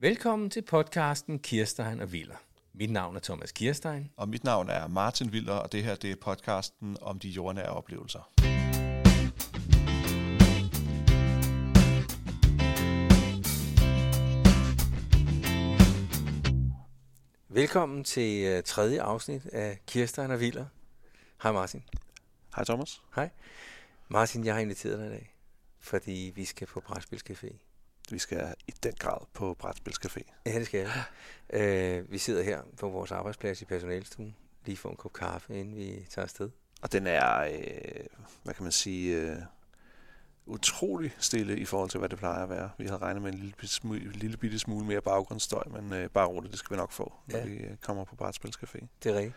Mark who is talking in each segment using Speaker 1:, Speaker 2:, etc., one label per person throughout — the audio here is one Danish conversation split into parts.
Speaker 1: Velkommen til podcasten Kirstein og Viller. Mit navn er Thomas Kirstein.
Speaker 2: Og mit navn er Martin Wilder, og det her det er podcasten om de jordnære oplevelser.
Speaker 1: Velkommen til øh, tredje afsnit af Kirstein og Viller. Hej Martin.
Speaker 2: Hej Thomas.
Speaker 1: Hej. Martin, jeg har inviteret dig i dag, fordi vi skal på Brætspilscafé.
Speaker 2: Vi skal i den grad på Brætspilscafé.
Speaker 1: Ja, det skal jeg. Øh, vi sidder her på vores arbejdsplads i personalstuen, lige får en kop kaffe, inden vi tager afsted.
Speaker 2: Og den er, øh, hvad kan man sige, øh, utrolig stille i forhold til, hvad det plejer at være. Vi havde regnet med en lille, bitte smule, lille bitte smule mere baggrundsstøj, men øh, bare roligt, det skal vi nok få, når
Speaker 1: Ja.
Speaker 2: ja. vi øh, kommer på Brætspilscafé.
Speaker 1: Det er rigtigt.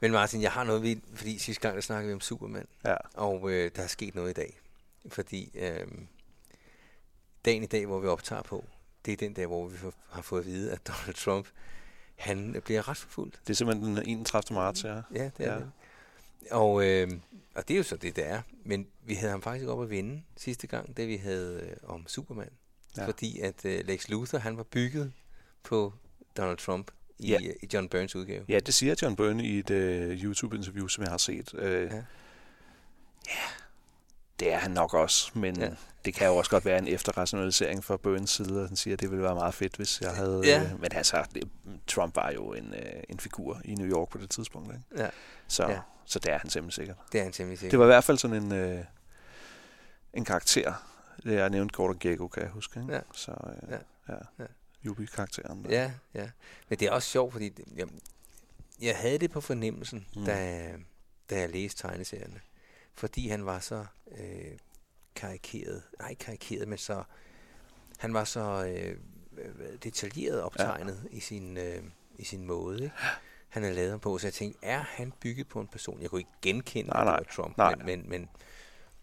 Speaker 1: Men Martin, jeg har noget ved, fordi sidste gang, der snakkede vi om Superman.
Speaker 2: Ja,
Speaker 1: Og øh, der er sket noget i dag. Fordi øh, dagen i dag, hvor vi optager på, det er den dag, hvor vi får- har fået at vide, at Donald Trump, han bliver retsforfulgt.
Speaker 2: det er simpelthen den 31. marts, ja.
Speaker 1: Ja, det er
Speaker 2: Ja.
Speaker 1: ja. det. Og, øh, og det er jo så det, det er. Men vi havde ham faktisk op at vinde sidste gang, det vi havde øh, om Superman.
Speaker 2: Ja.
Speaker 1: Ja. Fordi at øh, Lex Luthor, han var bygget på Donald Trump i,
Speaker 2: Ja.
Speaker 1: ja. i John Burns udgave.
Speaker 2: Ja, det siger John Byrne i et øh, YouTube-interview, som jeg har set. Øh,
Speaker 1: Ja.
Speaker 2: ja. det er han nok også, men
Speaker 1: Ja.
Speaker 2: ja. det kan jo også godt være en efterrationalisering fra Byrnes side, at han siger, at det ville være meget fedt, hvis jeg havde...
Speaker 1: Ja.
Speaker 2: Øh, men altså, det- Trump var jo en, øh, en figur i New York på det tidspunkt, ikke?
Speaker 1: Ja.
Speaker 2: Så,
Speaker 1: Ja.
Speaker 2: ja. så det er han simpelthen sikkert.
Speaker 1: Det er han temmelig sikker.
Speaker 2: Det var i hvert fald sådan en, øh, en karakter. Det jeg nævnte Gordon Gekko, kan jeg huske. Ikke?
Speaker 1: Ja.
Speaker 2: Så øh,
Speaker 1: Ja.
Speaker 2: ja.
Speaker 1: Ja.
Speaker 2: ja. Yubi-karakteren. der.
Speaker 1: Ja, ja. Men det er også sjovt, fordi jeg, jeg havde det på fornemmelsen, mm.
Speaker 2: Mm.
Speaker 1: da, da jeg læste tegneserierne. Fordi han var så øh, karikeret. Nej, ikke karikeret, men så... Han var så øh, hvad- detaljeret optegnet ja. i, sin, øh, i sin måde, ikke? Han havde lavet ham på, så jeg tænkte, er han bygget på en person? Jeg kunne ikke genkende,
Speaker 2: Nej,
Speaker 1: at det
Speaker 2: nej,
Speaker 1: var Trump,
Speaker 2: nej.
Speaker 1: Men, men, men,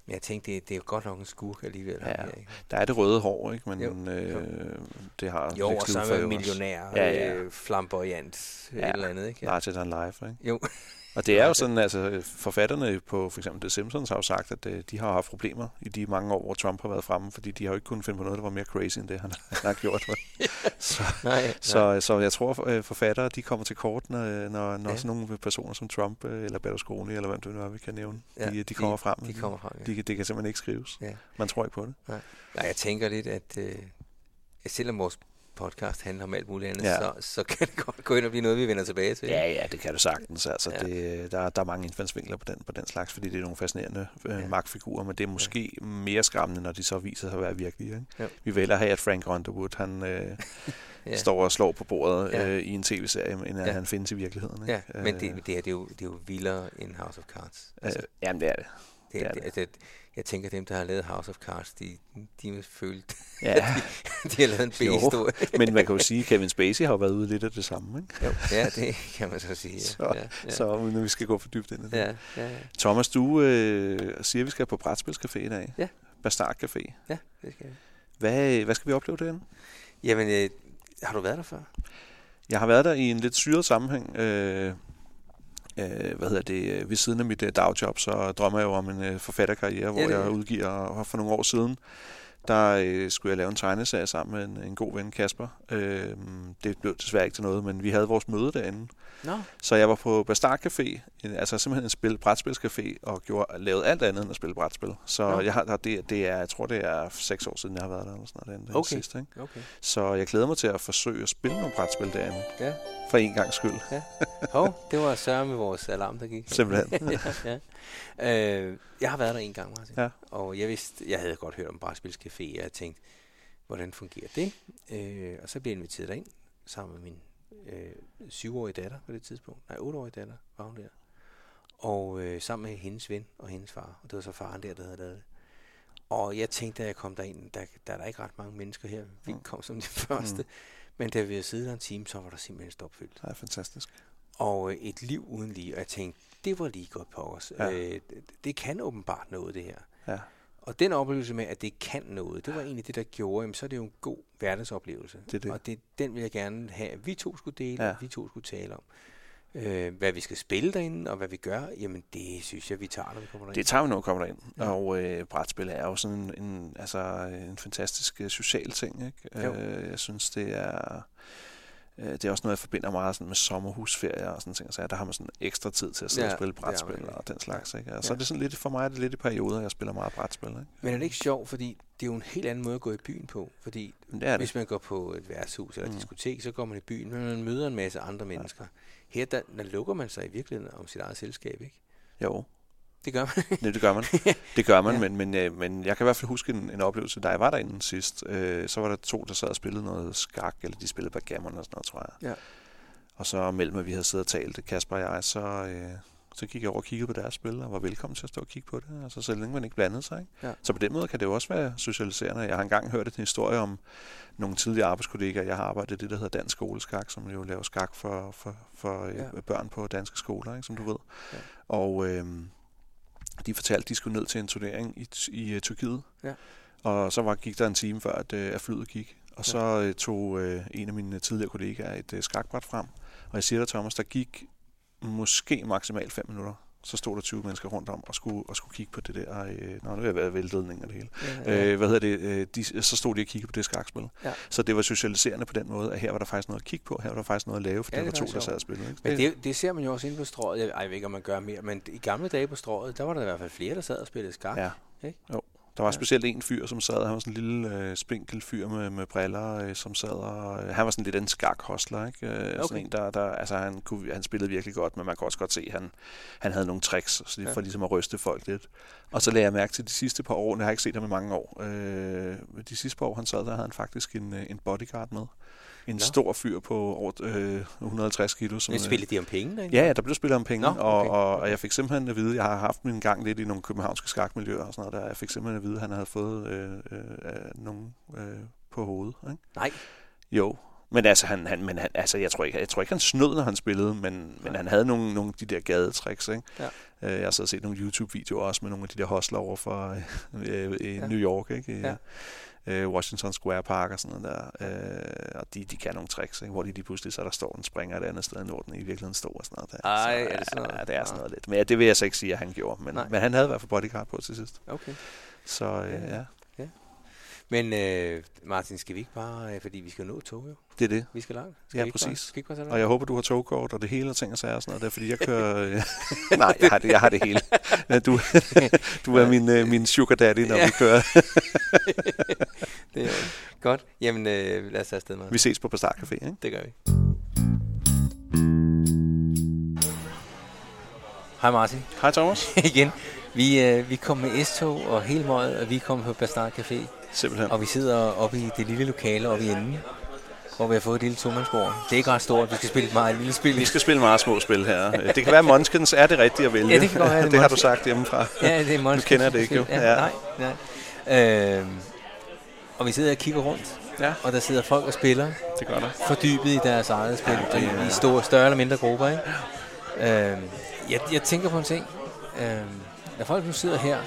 Speaker 1: men jeg tænkte, det, det er jo godt nok en skurk alligevel. ham
Speaker 2: Ja.
Speaker 1: her, ikke?
Speaker 2: Der er det røde hår, ikke? Men
Speaker 1: Jo,
Speaker 2: jo, øh, det har
Speaker 1: Jo,
Speaker 2: Lex
Speaker 1: og så
Speaker 2: Luthor
Speaker 1: er man
Speaker 2: jo også.
Speaker 1: millionær, ja,
Speaker 2: Ja,
Speaker 1: ja.
Speaker 2: ja.
Speaker 1: Øh, flamboyant, ja. et
Speaker 2: Ja.
Speaker 1: eller andet, ikke?
Speaker 2: Larger than life, ikke?
Speaker 1: Jo,
Speaker 2: Og det er jo sådan, altså forfatterne på for eksempel The Simpsons har jo sagt, at øh, de har haft problemer i de mange år, hvor Trump har været fremme, fordi de har jo ikke kunnet finde på noget, der var mere crazy end det, han, han har gjort. så,
Speaker 1: nej, nej.
Speaker 2: så, så jeg tror, øh, forfattere de kommer til kort, når, når,
Speaker 1: Ja.
Speaker 2: når ja. sådan nogle personer som Trump øh, eller Berlusconi, eller hvem det nu er, vi kan nævne,
Speaker 1: Ja,
Speaker 2: ja, de,
Speaker 1: de-
Speaker 2: de kommer frem.
Speaker 1: de kommer frem, ja.
Speaker 2: de, det kan simpelthen ikke skrives.
Speaker 1: Ja.
Speaker 2: Man tror ikke på det.
Speaker 1: Nej, jeg tænker lidt, at øh, at selvom vores podcast handler om alt muligt andet, ja.
Speaker 2: Ja.
Speaker 1: så, så kan det godt gå ind og blive noget, vi vender tilbage til.
Speaker 2: Ja, ja, det kan du sagtens. Altså,
Speaker 1: Ja.
Speaker 2: ja. det, der, er- der er mange indfaldsvinkler på den, på den slags, fordi det er nogle fascinerende øh,
Speaker 1: Ja.
Speaker 2: ja. magtfigurer, men det er måske ja. mere skræmmende, når de så viser sig at være virkelige. Ikke?
Speaker 1: Jo.
Speaker 2: Vi vil hellere have, at Frank Underwood han, øh,
Speaker 1: ja.
Speaker 2: ja. står og slår på bordet
Speaker 1: Ja.
Speaker 2: ja. øh, i en tv-serie, end at
Speaker 1: Ja.
Speaker 2: ja. han findes i virkeligheden. Ikke?
Speaker 1: ja. men
Speaker 2: Øh,
Speaker 1: det, altså- det, her, det, er jo, det er jo vildere end House of Cards.
Speaker 2: øh, jamen, det er det.
Speaker 1: Det,
Speaker 2: det
Speaker 1: det,
Speaker 2: er
Speaker 1: det. Altså, jeg tænker, dem, der har lavet House of Cards, de, de må føle,
Speaker 2: Ja.
Speaker 1: de har lavet en
Speaker 2: Jo.
Speaker 1: B-historie.
Speaker 2: men man kan jo sige, at Kevin Spacey har jo været ude lidt af det samme. Ikke?
Speaker 1: Jo, ja, det kan man så sige. Ja.
Speaker 2: Så-
Speaker 1: ja, ja.
Speaker 2: Ja. Så uden at vi skal gå for dybt ind i det.
Speaker 1: Ja, ja, ja.
Speaker 2: Thomas, du øh, siger, at vi skal på Brætspilscafé i dag.
Speaker 1: Ja.
Speaker 2: Bastard Café.
Speaker 1: ja, det skal jeg.
Speaker 2: Hvad, hvad skal vi opleve derinde?
Speaker 1: Jamen, øh, har du været der før?
Speaker 2: Jeg har været der i en lidt syret sammenhæng. Øh, øh, hvad hedder det? øh, Ved siden af mit øh, dagjob, så drømmer jeg jo om en øh, forfatterkarriere, hvor
Speaker 1: det er
Speaker 2: jeg
Speaker 1: det.
Speaker 2: udgiver. Og for nogle år siden, der øh, skulle jeg lave en tegneserie sammen med en, en god ven, Kasper. Øh, det blev desværre ikke til noget, men vi havde vores møde derinde.
Speaker 1: Nå.
Speaker 2: Så jeg var på Bastard Café, en- altså simpelthen en spil, brætspilscafé, og gjorde, lavede alt andet end at spille brætspil. Så
Speaker 1: Nå.
Speaker 2: jeg har, der- det, det er, jeg tror, det er seks år siden, jeg har været der. Eller sådan noget, den,
Speaker 1: Okay.
Speaker 2: den sidste, ikke?
Speaker 1: Okay.
Speaker 2: Så jeg glæder mig til at forsøge at spille nogle brætspil derinde.
Speaker 1: Ja.
Speaker 2: For en gang skyld.
Speaker 1: Hov, det var Søren med vores alarm, der gik.
Speaker 2: Simpelthen.
Speaker 1: ja, ja. Øh, jeg har været der en gang, Martin.
Speaker 2: Ja.
Speaker 1: Og jeg vidste, jeg havde godt hørt om Brætspilscafé, og jeg tænkte, hvordan fungerer det? Øh, og så blev jeg inviteret derind, sammen med min øh, syvårige datter på det tidspunkt. Nej, otteårige datter var hun der. Og øh, sammen med hendes ven og hendes far. Og det var så faren der, der havde lavet det. Og jeg tænkte, da jeg kom derind, der, der er der ikke ret mange mennesker her.
Speaker 2: Mm.
Speaker 1: Vi kom som de første. Mm. Men da vi havde siddet der en time, så var der simpelthen stopfyldt
Speaker 2: Det er fantastisk.
Speaker 1: og øh, et liv uden lige. Og jeg tænkte, det var lige godt på os. Ja.
Speaker 2: Ja.
Speaker 1: Øh, det, det kan åbenbart noget, det her.
Speaker 2: Ja.
Speaker 1: Og den oplevelse med, at det kan noget, det var egentlig det, der gjorde, jamen, så er det jo en god hverdagsoplevelse.
Speaker 2: Det er det.
Speaker 1: Og det, den vil jeg gerne have, at vi to skulle dele,
Speaker 2: Ja.
Speaker 1: ja. vi to skulle tale om. Øh, hvad vi skal spille derinde, og hvad vi gør, jamen det synes jeg, vi tager, når vi kommer derind.
Speaker 2: Det tager vi, når vi kommer derind. Ja. Og øh, brætspil er jo sådan en, en, altså, en fantastisk øh, social ting. Ikke?
Speaker 1: Jo.
Speaker 2: Øh, jeg synes, det er... øh, Det er også noget, jeg forbinder meget sådan med sommerhusferier og sådan ting. Så der har man sådan ekstra tid til at sidde ja,
Speaker 1: Ja,
Speaker 2: og spille
Speaker 1: det har man
Speaker 2: brætspil
Speaker 1: virkelig.
Speaker 2: og den slags. Ikke? Og så
Speaker 1: Ja.
Speaker 2: er det sådan lidt, for mig er det lidt i perioder, jeg spiller meget brætspil. Ikke?
Speaker 1: Men er det ikke sjovt, fordi det er jo en helt anden måde at gå i byen på, fordi
Speaker 2: Men det er det.
Speaker 1: Hvis man går på et værtshus eller et
Speaker 2: Mm.
Speaker 1: diskotek, så går man i byen, men man møder en masse andre mennesker. Her, der, der lukker man sig i virkeligheden om sit eget selskab, ikke?
Speaker 2: Jo,
Speaker 1: Det gør man.
Speaker 2: det, det gør man. Det gør man,
Speaker 1: Ja.
Speaker 2: ja. men, men, øh, men jeg kan i hvert fald huske en, en oplevelse, da jeg var derinde sidst. Øh, så var der to, der sad og spillede noget skak, eller de spillede backgammon og sådan noget, tror jeg.
Speaker 1: Ja.
Speaker 2: Og så mellem, at vi havde siddet og talt, Kasper og jeg, så, øh, så gik jeg over og kiggede på deres spil, og var velkommen til at stå og kigge på det. Altså, så længe man ikke blandede sig. Ikke?
Speaker 1: Ja.
Speaker 2: Så på den måde kan det jo også være socialiserende. Jeg har engang hørt en historie om nogle tidligere arbejdskollegaer. Jeg har arbejdet i det, der hedder Dansk Skoleskak, som jo laver skak for, for, for
Speaker 1: Ja.
Speaker 2: ja. børn på danske skoler, ikke, som du ved.
Speaker 1: Ja.
Speaker 2: Og øh, de fortalte, at de skulle ned til en turnering i, i øh, Tyrkiet.
Speaker 1: Ja.
Speaker 2: Og så var, gik der en time før, at, øh, at flyet gik. Og
Speaker 1: Ja.
Speaker 2: så øh, tog øh, en af mine tidligere kollegaer et øh, skakbræt frem. Og jeg siger dig, Thomas, der gik måske maksimalt 5 minutter. Så stod der 20 mennesker rundt om og skulle, og skulle kigge på det der. Øh, nå, nu er jeg været væltledning og det hele.
Speaker 1: Ja,
Speaker 2: Øh, hvad hedder det? Øh, de, så stod de og kiggede på det skakspil.
Speaker 1: Ja.
Speaker 2: Så det var socialiserende på den måde, at her var der faktisk noget at kigge på, her var der faktisk noget at lave, for
Speaker 1: Ja,
Speaker 2: ja, der
Speaker 1: det
Speaker 2: var
Speaker 1: er
Speaker 2: to, der
Speaker 1: sjovt.
Speaker 2: sad og spillede. Ikke?
Speaker 1: Men det, det ser man jo også inde på strået. Jeg, ej, jeg ved ikke, om man gør mere, men i gamle dage på strået, der var der i hvert fald flere, der sad og spillede skak.
Speaker 2: Ja.
Speaker 1: Ikke?
Speaker 2: Jo. Der var
Speaker 1: Ja.
Speaker 2: specielt en fyr, som sad, han var sådan en lille øh, spinkel fyr med, med briller, øh, som sad og... Øh, han var sådan lidt en skakhostler, ikke? Øh, okay.
Speaker 1: Okay.
Speaker 2: Sådan en, der, der, altså, han, kunne, han spillede virkelig godt, men man kunne også godt se, at han, han havde nogle tricks så det,
Speaker 1: Ja.
Speaker 2: for ligesom at ryste folk lidt. Og så lagde jeg mærke til de sidste par år, nu har jeg ikke set ham i mange år, øh, de sidste par år, han sad, der havde han faktisk en, øh, en bodyguard med. En
Speaker 1: Nå.
Speaker 2: stor fyr på over øh, 150 kilo. Som,
Speaker 1: Men
Speaker 2: øh,
Speaker 1: spillede de om penge derinde?
Speaker 2: Ja, ja, der blev spillet om penge,
Speaker 1: Nå,
Speaker 2: Nå,
Speaker 1: okay,
Speaker 2: okay. og, og,
Speaker 1: okay.
Speaker 2: og jeg fik simpelthen at vide, jeg har haft min gang lidt i nogle københavnske skakmiljøer og sådan noget der, jeg fik simpelthen at vide, at han havde fået øh, øh, øh, nogen øh, på hovedet. Ikke?
Speaker 1: Nej.
Speaker 2: Jo, men altså, han, han, men han, altså jeg, tror ikke, jeg tror ikke, han snød, når han spillede, men, men
Speaker 1: Nej.
Speaker 2: han havde nogle, nogle af de der gadetricks. Ikke?
Speaker 1: Ja.
Speaker 2: Øh, jeg har så set nogle YouTube-videoer også med nogle af de der hostler over for øh, i
Speaker 1: Ja.
Speaker 2: New York, ikke? I,
Speaker 1: Ja.
Speaker 2: øh, Washington Square Park og sådan noget der. Øh, og de, de kan nogle tricks, ikke? hvor de lige pludselig, så der står en springer et andet sted, end hvor den i virkeligheden stod og sådan noget der.
Speaker 1: Ej,
Speaker 2: så,
Speaker 1: er det sådan noget?
Speaker 2: Ja, det er sådan
Speaker 1: Nå.
Speaker 2: noget lidt. Men ja, det vil jeg så ikke sige, at han gjorde. Men,
Speaker 1: Nej.
Speaker 2: men han havde i hvert fald bodyguard på til sidst.
Speaker 1: Okay.
Speaker 2: Så øh,
Speaker 1: Ja, ja.
Speaker 2: ja,
Speaker 1: Men øh, Martin, skal vi ikke bare, øh, fordi vi skal jo nå tog jo.
Speaker 2: det er det.
Speaker 1: Vi skal langt. Skal
Speaker 2: Ja,
Speaker 1: vi ikke Bare,
Speaker 2: præcis.
Speaker 1: skal vi ikke bare tage
Speaker 2: Og jeg håber, du har togkort og det hele og ting og sager og sådan noget der, fordi jeg kører... øh, Nej, jeg har, det, jeg har det hele. Ja, Du, du er min, øh, min sugar daddy, når
Speaker 1: Ja.
Speaker 2: vi kører.
Speaker 1: det er jo- Godt. Jamen, øh, lad os tage afsted, Martin.
Speaker 2: Vi ses på Bastard Café, ikke?
Speaker 1: Det gør vi. Hej Martin,
Speaker 2: Hej Thomas.
Speaker 1: igen. Vi, øh, vi kom med S-tog og hele møget, og vi kom på Bastard Café.
Speaker 2: Simpelthen.
Speaker 1: Og vi sidder oppe i det lille lokale oppe i enden, hvor vi har fået et lille tomandsbord. Det er ikke ret stort, vi skal spille et meget lille spil.
Speaker 2: Vi skal spille meget små spil her. Øh, Det kan være, at Munchkins er det rigtige at vælge.
Speaker 1: Ja, det kan godt være, det er
Speaker 2: det har du
Speaker 1: Munchkins.
Speaker 2: sagt hjemmefra.
Speaker 1: Ja, det er Måns.
Speaker 2: Nu kender jeg det ikke, jo.
Speaker 1: Ja,
Speaker 2: Ja.
Speaker 1: nej, nej. Øhm, og vi sidder og kigger rundt,
Speaker 2: Ja,
Speaker 1: og der sidder folk og spiller,
Speaker 2: det gør der.
Speaker 1: fordybet i deres eget spil, ja, i store, større eller mindre grupper. Ikke? Øhm, jeg, jeg tænker på en ting. Øhm, når folk nu sidder her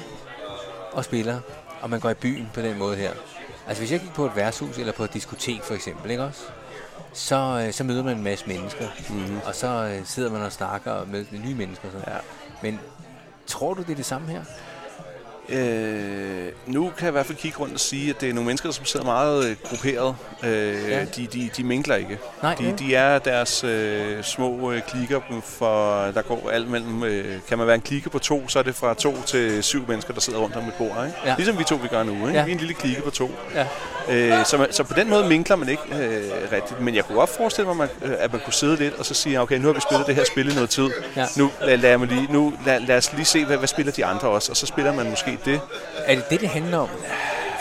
Speaker 1: og spiller, og man går i byen på den måde her. Altså hvis jeg gik på et værtshus eller på et diskotek for eksempel, ikke også? Så, øh, så møder man en masse mennesker,
Speaker 2: Mhm.
Speaker 1: mm-hmm. og så øh, sidder man og snakker og møder nye mennesker. og Sådan.
Speaker 2: Ja.
Speaker 1: Men tror du, det er det samme her?
Speaker 2: Øh, nu kan jeg i hvert fald kigge rundt og sige, at det er nogle mennesker, som sidder meget øh, grupperet. Øh,
Speaker 1: Ja.
Speaker 2: ja. de, de, de mingler ikke.
Speaker 1: Nej,
Speaker 2: De,
Speaker 1: vel?
Speaker 2: de er deres øh, små øh, klikker, for der går alt mellem... Øh, kan man være en klikke på to, så er det fra to til syv mennesker, der sidder rundt om et bord. Ikke?
Speaker 1: Ja.
Speaker 2: Ja. Ligesom vi to, vi gør nu. Ikke?
Speaker 1: Ja.
Speaker 2: Ja. Vi er en lille klikke på to.
Speaker 1: Ja.
Speaker 2: Øh, så, man- så på den måde minkler man ikke øh, rigtigt. Men jeg kunne godt forestille mig, at man, øh, at man kunne sidde lidt og så sige, okay, nu har vi spillet det her spil i noget tid.
Speaker 1: Ja.
Speaker 2: Nu, lad, lad, mig lige, nu lad, lad os lige se, hvad, hvad spiller de andre også. Og så spiller man måske det.
Speaker 1: Er det det, det handler om?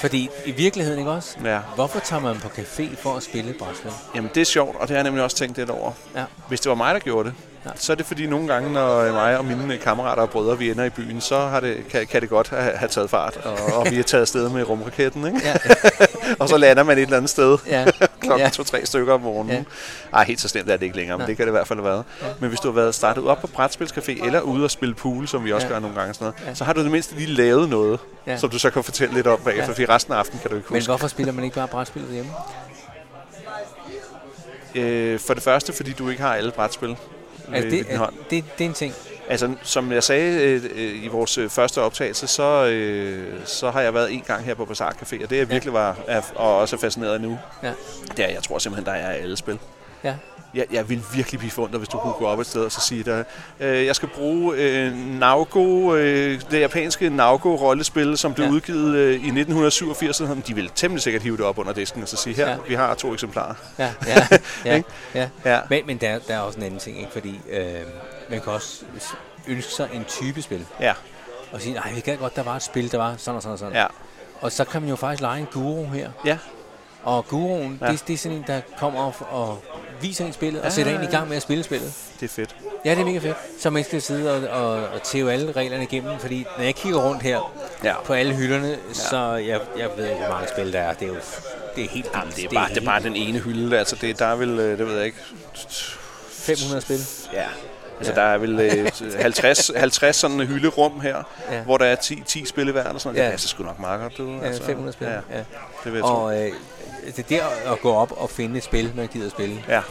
Speaker 1: Fordi i virkeligheden, ikke også?
Speaker 2: Ja.
Speaker 1: Hvorfor tager man på café for at spille brætspil?
Speaker 2: Jamen, det er sjovt, og det har jeg nemlig også tænkt lidt over.
Speaker 1: Ja.
Speaker 2: Hvis det var mig, der gjorde det,
Speaker 1: Ja.
Speaker 2: ja. så er det fordi nogle gange, når øh, mig og mine øh, kammerater og brødre, vi ender i byen, så har det, kan, kan det godt have, have taget fart, og, og vi er taget afsted med rumraketten, ikke?
Speaker 1: Ja.
Speaker 2: og så lander man et eller andet sted
Speaker 1: Ja.
Speaker 2: klokken
Speaker 1: Ja.
Speaker 2: ja. to-tre stykker om morgenen. Ja. Ej, helt så slemt er det ikke længere, men
Speaker 1: Nej.
Speaker 2: det kan det i hvert fald have været. Ja. Men hvis du har været startet op på brætspilscafé, eller ude og spille pool, som vi også
Speaker 1: Ja.
Speaker 2: ja. gør nogle gange, sådan noget,
Speaker 1: Ja.
Speaker 2: ja. så har du i det mindste lige lavet noget,
Speaker 1: Ja.
Speaker 2: ja. som du så kan fortælle lidt om bagefter,
Speaker 1: Ja.
Speaker 2: ja. fordi resten af aftenen kan du ikke
Speaker 1: Men
Speaker 2: huske.
Speaker 1: hvorfor spiller man ikke bare brætspil derhjemme?
Speaker 2: Øh, for det første, fordi du ikke har alle brætspil. ved,
Speaker 1: Altså,
Speaker 2: ved
Speaker 1: det,
Speaker 2: din hånd.
Speaker 1: er, det, det er en ting.
Speaker 2: Altså, som jeg sagde øh, øh, i vores øh, første optagelse, så, øh, så har jeg været en gang her på Bazaar Café, og det jeg virkelig var, er, og også er fascineret af nu,
Speaker 1: Ja.
Speaker 2: det er, jeg tror simpelthen, der er alle spil.
Speaker 1: Ja.
Speaker 2: Jeg, jeg ville virkelig blive forundret, hvis du kunne gå op et sted og så sige dig, øh, jeg skal bruge øh, Naogo, øh, det japanske Naogo-rollespil, som blev
Speaker 1: Ja.
Speaker 2: ja. udgivet øh, i 1987. Så de ville temmelig sikkert hive det op under disken og så sige, her,
Speaker 1: Ja.
Speaker 2: ja. vi har to eksemplarer.
Speaker 1: Ja, ja, ja,
Speaker 2: Ikke?
Speaker 1: ja.
Speaker 2: Ja.
Speaker 1: Men, men der, der er også en anden ting, ikke? fordi øh, man kan også s- ønske sig en type spil,
Speaker 2: Ja,
Speaker 1: og sige, nej, vi gad godt, der var et spil, der var sådan og sådan og sådan.
Speaker 2: ja,
Speaker 1: Og så kan man jo faktisk lege en guru her,
Speaker 2: ja.
Speaker 1: og guruen, ja.
Speaker 2: Ja. Ah.
Speaker 1: det, det er sådan en, der kommer og, og viser en spillet, og
Speaker 2: Ja,
Speaker 1: sætter
Speaker 2: ja,
Speaker 1: en i
Speaker 2: ja.
Speaker 1: gang med at spille spillet.
Speaker 2: Det er fedt.
Speaker 1: Ja, det er mega fedt. Så man ikke skal sidde og, og, og tæve alle reglerne igennem, fordi når jeg kigger rundt her
Speaker 2: Ja.
Speaker 1: på alle hylderne, ja. så jeg, jeg ved ikke, hvor mange spil der er. Det er jo det er helt
Speaker 2: Jamen, det er, bare, det er bare den ene hylde. Altså, det, der er vel, øh, det ved jeg ikke,
Speaker 1: 500 spil.
Speaker 2: Ja. Altså,
Speaker 1: Ja.
Speaker 2: ja. der er vel øh, 50, 50 sådan hylderum her,
Speaker 1: Ja.
Speaker 2: ja. hvor der er 10, 10 spil i hver, eller sådan noget.
Speaker 1: Ja.
Speaker 2: Ja. Det passer sgu nok meget godt, du.
Speaker 1: Ja, 500 spil. Ja. Ja.
Speaker 2: Altså, Det vil jeg tro.
Speaker 1: Og øh, det er der at gå op og finde et spil, man gider at spille.
Speaker 2: Ja.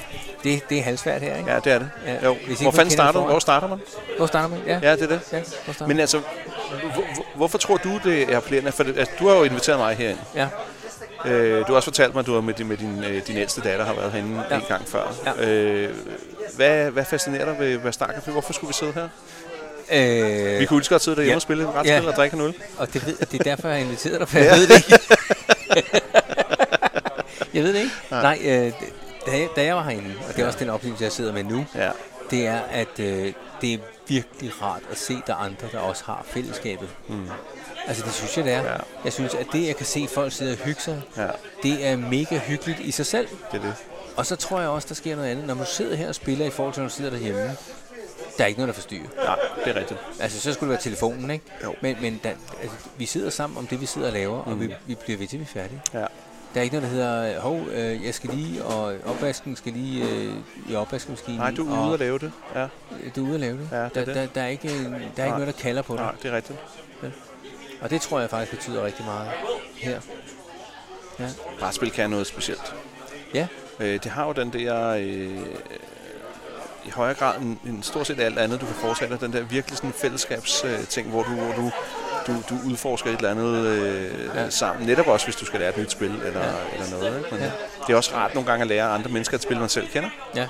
Speaker 1: Det, det er halvsvært her, ikke?
Speaker 2: ja, det er det.
Speaker 1: Ja.
Speaker 2: Jo.
Speaker 1: Hvis ikke
Speaker 2: Hvor
Speaker 1: man
Speaker 2: fanden
Speaker 1: kender
Speaker 2: starter
Speaker 1: forvejen.
Speaker 2: Hvor starter man?
Speaker 1: Hvor starter man? Ja,
Speaker 2: Ja, det er det.
Speaker 1: ja hvor starter
Speaker 2: Men
Speaker 1: man?
Speaker 2: altså, hvor, hvor- hvorfor tror du, det er appellerende? For det- altså, du har jo inviteret mig herind.
Speaker 1: Ja.
Speaker 2: Øh, du har også fortalt mig, at du har med, din- med din, øh, din ældste datter har været herinde
Speaker 1: Ja.
Speaker 2: ja. en gang før.
Speaker 1: Ja.
Speaker 2: Øh, hvad, hvad fascinerer dig ved, ved Starcafé? Hvorfor skulle vi sidde her?
Speaker 1: Øh,
Speaker 2: Vi kunne lige så godt sidde derhjemme
Speaker 1: Ja.
Speaker 2: ja. og spille et retsspil
Speaker 1: Ja.
Speaker 2: ja. og drikke en øl.
Speaker 1: Og det, ved, det er derfor, jeg har inviteret dig, for jeg ved det ikke. jeg ved det ikke. Nej, øh, da, jeg, da jeg var herinde, og det er også den oplevelse, jeg sidder med nu,
Speaker 2: Ja.
Speaker 1: det er, at øh, det er virkelig rart at se, der er andre, der også har fællesskabet. Mm. Altså, det synes jeg, det er.
Speaker 2: Ja.
Speaker 1: Jeg synes, at det, jeg kan se folk sidde og hygge sig,
Speaker 2: Ja.
Speaker 1: det er mega hyggeligt i sig selv.
Speaker 2: Det er det.
Speaker 1: Og så tror jeg også, der sker noget andet. Når man sidder her og spiller i forhold til, når man sidder derhjemme, der er ikke noget, der forstyrrer.
Speaker 2: Nej, det er rigtigt.
Speaker 1: Altså, så skulle det være telefonen, ikke?
Speaker 2: Jo.
Speaker 1: Men, men der, altså, vi sidder sammen om det, vi sidder og laver, mm. og vi, vi bliver ved til, vi er færdige.
Speaker 2: Ja.
Speaker 1: Der er ikke noget, der hedder, hov, øh, jeg skal lige, og opvasken skal lige øh, i opvaskemaskinen.
Speaker 2: Nej, du er
Speaker 1: og-
Speaker 2: ude at lave det. Ja,
Speaker 1: Du er ude at lave det.
Speaker 2: Ja, det er
Speaker 1: der,
Speaker 2: det.
Speaker 1: Der, der, er ikke, en- der er ikke noget, der kalder på dig.
Speaker 2: nej, det er rigtigt.
Speaker 1: Og det tror jeg faktisk betyder rigtig meget her.
Speaker 2: Brætspil kan noget specielt.
Speaker 1: Ja,
Speaker 2: Øh, det har jo den der, øh, i højere grad end, end stort set alt andet, du kan forestille dig, den der virkelig sådan fællesskabsting, øh, ting, hvor, du, hvor du, du, du udforsker et eller andet øh,
Speaker 1: Ja.
Speaker 2: ja. sammen. Netop også, hvis du skal lære et nyt spil eller,
Speaker 1: Ja.
Speaker 2: ja. eller noget. Ikke? Men
Speaker 1: Ja.
Speaker 2: ja. det er også rart nogle gange at lære andre mennesker at spille, man selv kender.
Speaker 1: ja,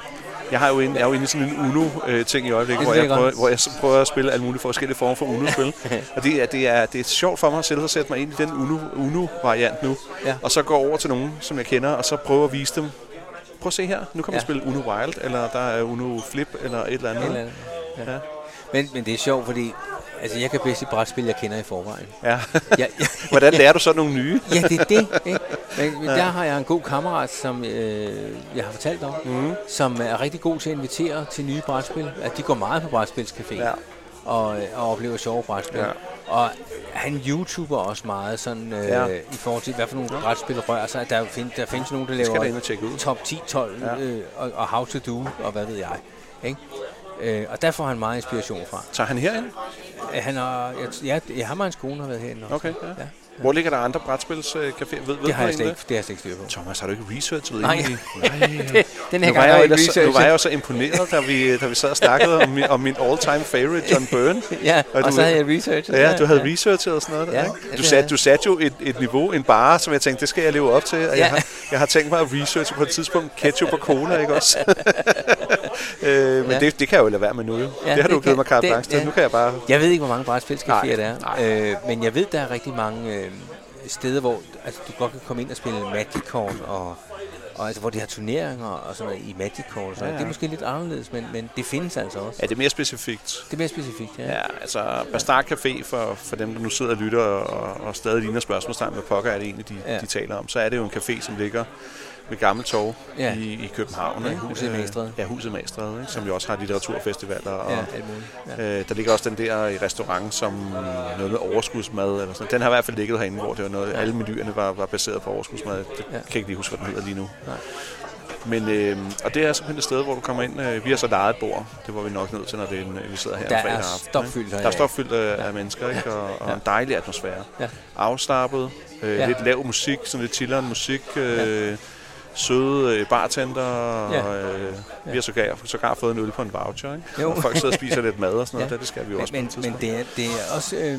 Speaker 2: Jeg, har jo en, jeg er jo inde i sådan en Uno-ting i øjeblikket,
Speaker 1: Det
Speaker 2: hvor
Speaker 1: ved
Speaker 2: jeg,
Speaker 1: jeg godt.
Speaker 2: prøver, hvor jeg så prøver at spille alle mulige forskellige former for Uno-spil. og det, er, det, er, det er sjovt for mig at selv at sætte mig ind i den Uno- Uno-variant nu.
Speaker 1: Ja.
Speaker 2: Og så gå over til nogen, som jeg kender, og så prøve at vise dem. Prøv at se her, nu kan man
Speaker 1: Ja.
Speaker 2: spille Uno Wild, eller der er Uno Flip, eller et eller andet.
Speaker 1: et eller andet. Ja.
Speaker 2: Ja.
Speaker 1: Men, men det er sjovt, fordi altså, jeg kan bedst et brætspil, jeg kender i forvejen.
Speaker 2: Ja.
Speaker 1: Jeg, jeg,
Speaker 2: Hvordan lærer du så nogle nye?
Speaker 1: Ja, det er det. Ikke? Men, men der har jeg en god kammerat, som øh, jeg har fortalt om,
Speaker 2: Mhm.
Speaker 1: mm. som er rigtig god til at invitere til nye brætspil. At de går meget på brætspilscafé
Speaker 2: Ja.
Speaker 1: og, og oplever sjove brætspil.
Speaker 2: Ja.
Speaker 1: Og han youtuber også meget sådan, øh,
Speaker 2: Ja.
Speaker 1: i forhold til, hvad for nogle brætspil rører sig. Der, find, der findes nogen, der
Speaker 2: skal jeg da ind
Speaker 1: laver
Speaker 2: og tjekke ud.
Speaker 1: top 10, 12 ja.
Speaker 2: Ja.
Speaker 1: øh, og, og how to do, og hvad ved jeg. Ikke? Øh, og der får han meget inspiration fra.
Speaker 2: Tager han herind?
Speaker 1: Øh, Han har, jeg, jeg, jeg har hans kone har været herinde også.
Speaker 2: Okay, ja.
Speaker 1: Ja.
Speaker 2: Hvor ligger der andre brætspilscaféer? Ved, ved du
Speaker 1: Det har, jeg
Speaker 2: egentlig
Speaker 1: slet ikke, det har jeg slet ikke styr på.
Speaker 2: Thomas, har du ikke researchet?
Speaker 1: Nej.
Speaker 2: Nej.
Speaker 1: Den her
Speaker 2: Nu
Speaker 1: gang
Speaker 2: var,
Speaker 1: har
Speaker 2: jeg jo
Speaker 1: jeg ikke
Speaker 2: ellers, så- nu var
Speaker 1: researchet.
Speaker 2: jeg jo så imponeret, da vi, da vi sad og snakkede om, min- om min all-time favorite, John Byrne.
Speaker 1: Ja, og,
Speaker 2: Og du-
Speaker 1: så havde jeg researchet.
Speaker 2: Ja, du havde researchet og sådan noget.
Speaker 1: Ja,
Speaker 2: Der,
Speaker 1: ja,
Speaker 2: ikke?
Speaker 1: det
Speaker 2: Du,
Speaker 1: havde jeg.
Speaker 2: satte, du satte jo et, et niveau, en bare, som jeg tænkte, det skal jeg leve op til. Og ja.
Speaker 1: Ja.
Speaker 2: jeg, har, jeg har tænkt mig at researche på et tidspunkt ketchup og cola, ikke også? øh, men
Speaker 1: Ja.
Speaker 2: ja. det, det kan jeg jo lade være med nu. Jo. Ja, det
Speaker 1: det
Speaker 2: har du
Speaker 1: kan-
Speaker 2: givet mig carte
Speaker 1: det-
Speaker 2: blanche til.
Speaker 1: ja.
Speaker 2: Nu kan jeg bare...
Speaker 1: Jeg ved ikke, hvor mange brætspilscaféer
Speaker 2: Nej,
Speaker 1: der er, øh, men jeg ved, der er rigtig mange øh, steder, hvor altså, du godt kan komme ind og spille Magic-kort, og, og altså, hvor de har turneringer og sådan noget i Magic-kort. Og sådan. Ja,
Speaker 2: Ja,
Speaker 1: ja.
Speaker 2: ja.
Speaker 1: Det er måske lidt anderledes, men, men det findes altså også.
Speaker 2: Ja, det er mere specifikt.
Speaker 1: Det er mere specifikt, ja. ja.
Speaker 2: Ja, altså Bastard Café, for, for dem, der nu sidder og lytter og, og stadig ligner spørgsmålstegn, hvad pokker er det egentlig, de,
Speaker 1: Ja.
Speaker 2: ja. de taler om, så er det jo en café, som ligger ved Gammel Torv
Speaker 1: Ja.
Speaker 2: ja. i, i København.
Speaker 1: Ja,
Speaker 2: ikke?
Speaker 1: Huset i
Speaker 2: Øh,
Speaker 1: Magstræde.
Speaker 2: Ja, Huset Magstræde, ikke? som jo også har litteraturfestivaler. Og,
Speaker 1: Ja, alt muligt. Ja.
Speaker 2: Øh, der ligger også den der i restaurant, som noget med overskudsmad. Eller sådan. Den har i hvert fald ligget herinde, hvor det var noget, alle menuerne var, var baseret på overskudsmad. Det
Speaker 1: Ja.
Speaker 2: ja. kan jeg ikke lige huske, hvad den hedder lige nu.
Speaker 1: Nej.
Speaker 2: Men, øh, og det er simpelthen et sted, hvor du kommer ind. Øh, vi har så lejet et bord. Det var vi nok nødt til, når det er en, øh, vi sidder her
Speaker 1: Der
Speaker 2: en fredag
Speaker 1: er
Speaker 2: aften. ikke?
Speaker 1: stopfyldt
Speaker 2: Der
Speaker 1: herinde.
Speaker 2: er stopfyldt øh, af mennesker, ikke? Og, og en dejlig atmosfære.
Speaker 1: Ja.
Speaker 2: Afslappet. Øh,
Speaker 1: Ja.
Speaker 2: Lidt lav musik, sådan lidt chilleren musik. Øh, søde øh, bartender, ja.
Speaker 1: Ja.
Speaker 2: og øh, vi har sågar, sågar fået en øl på en voucher, ikke?
Speaker 1: Jo.
Speaker 2: Og folk sidder og spiser lidt mad og sådan noget,
Speaker 1: Ja.
Speaker 2: ja. det skal vi jo
Speaker 1: Men,
Speaker 2: også
Speaker 1: men,
Speaker 2: på et
Speaker 1: men det, er, det er også... Øh,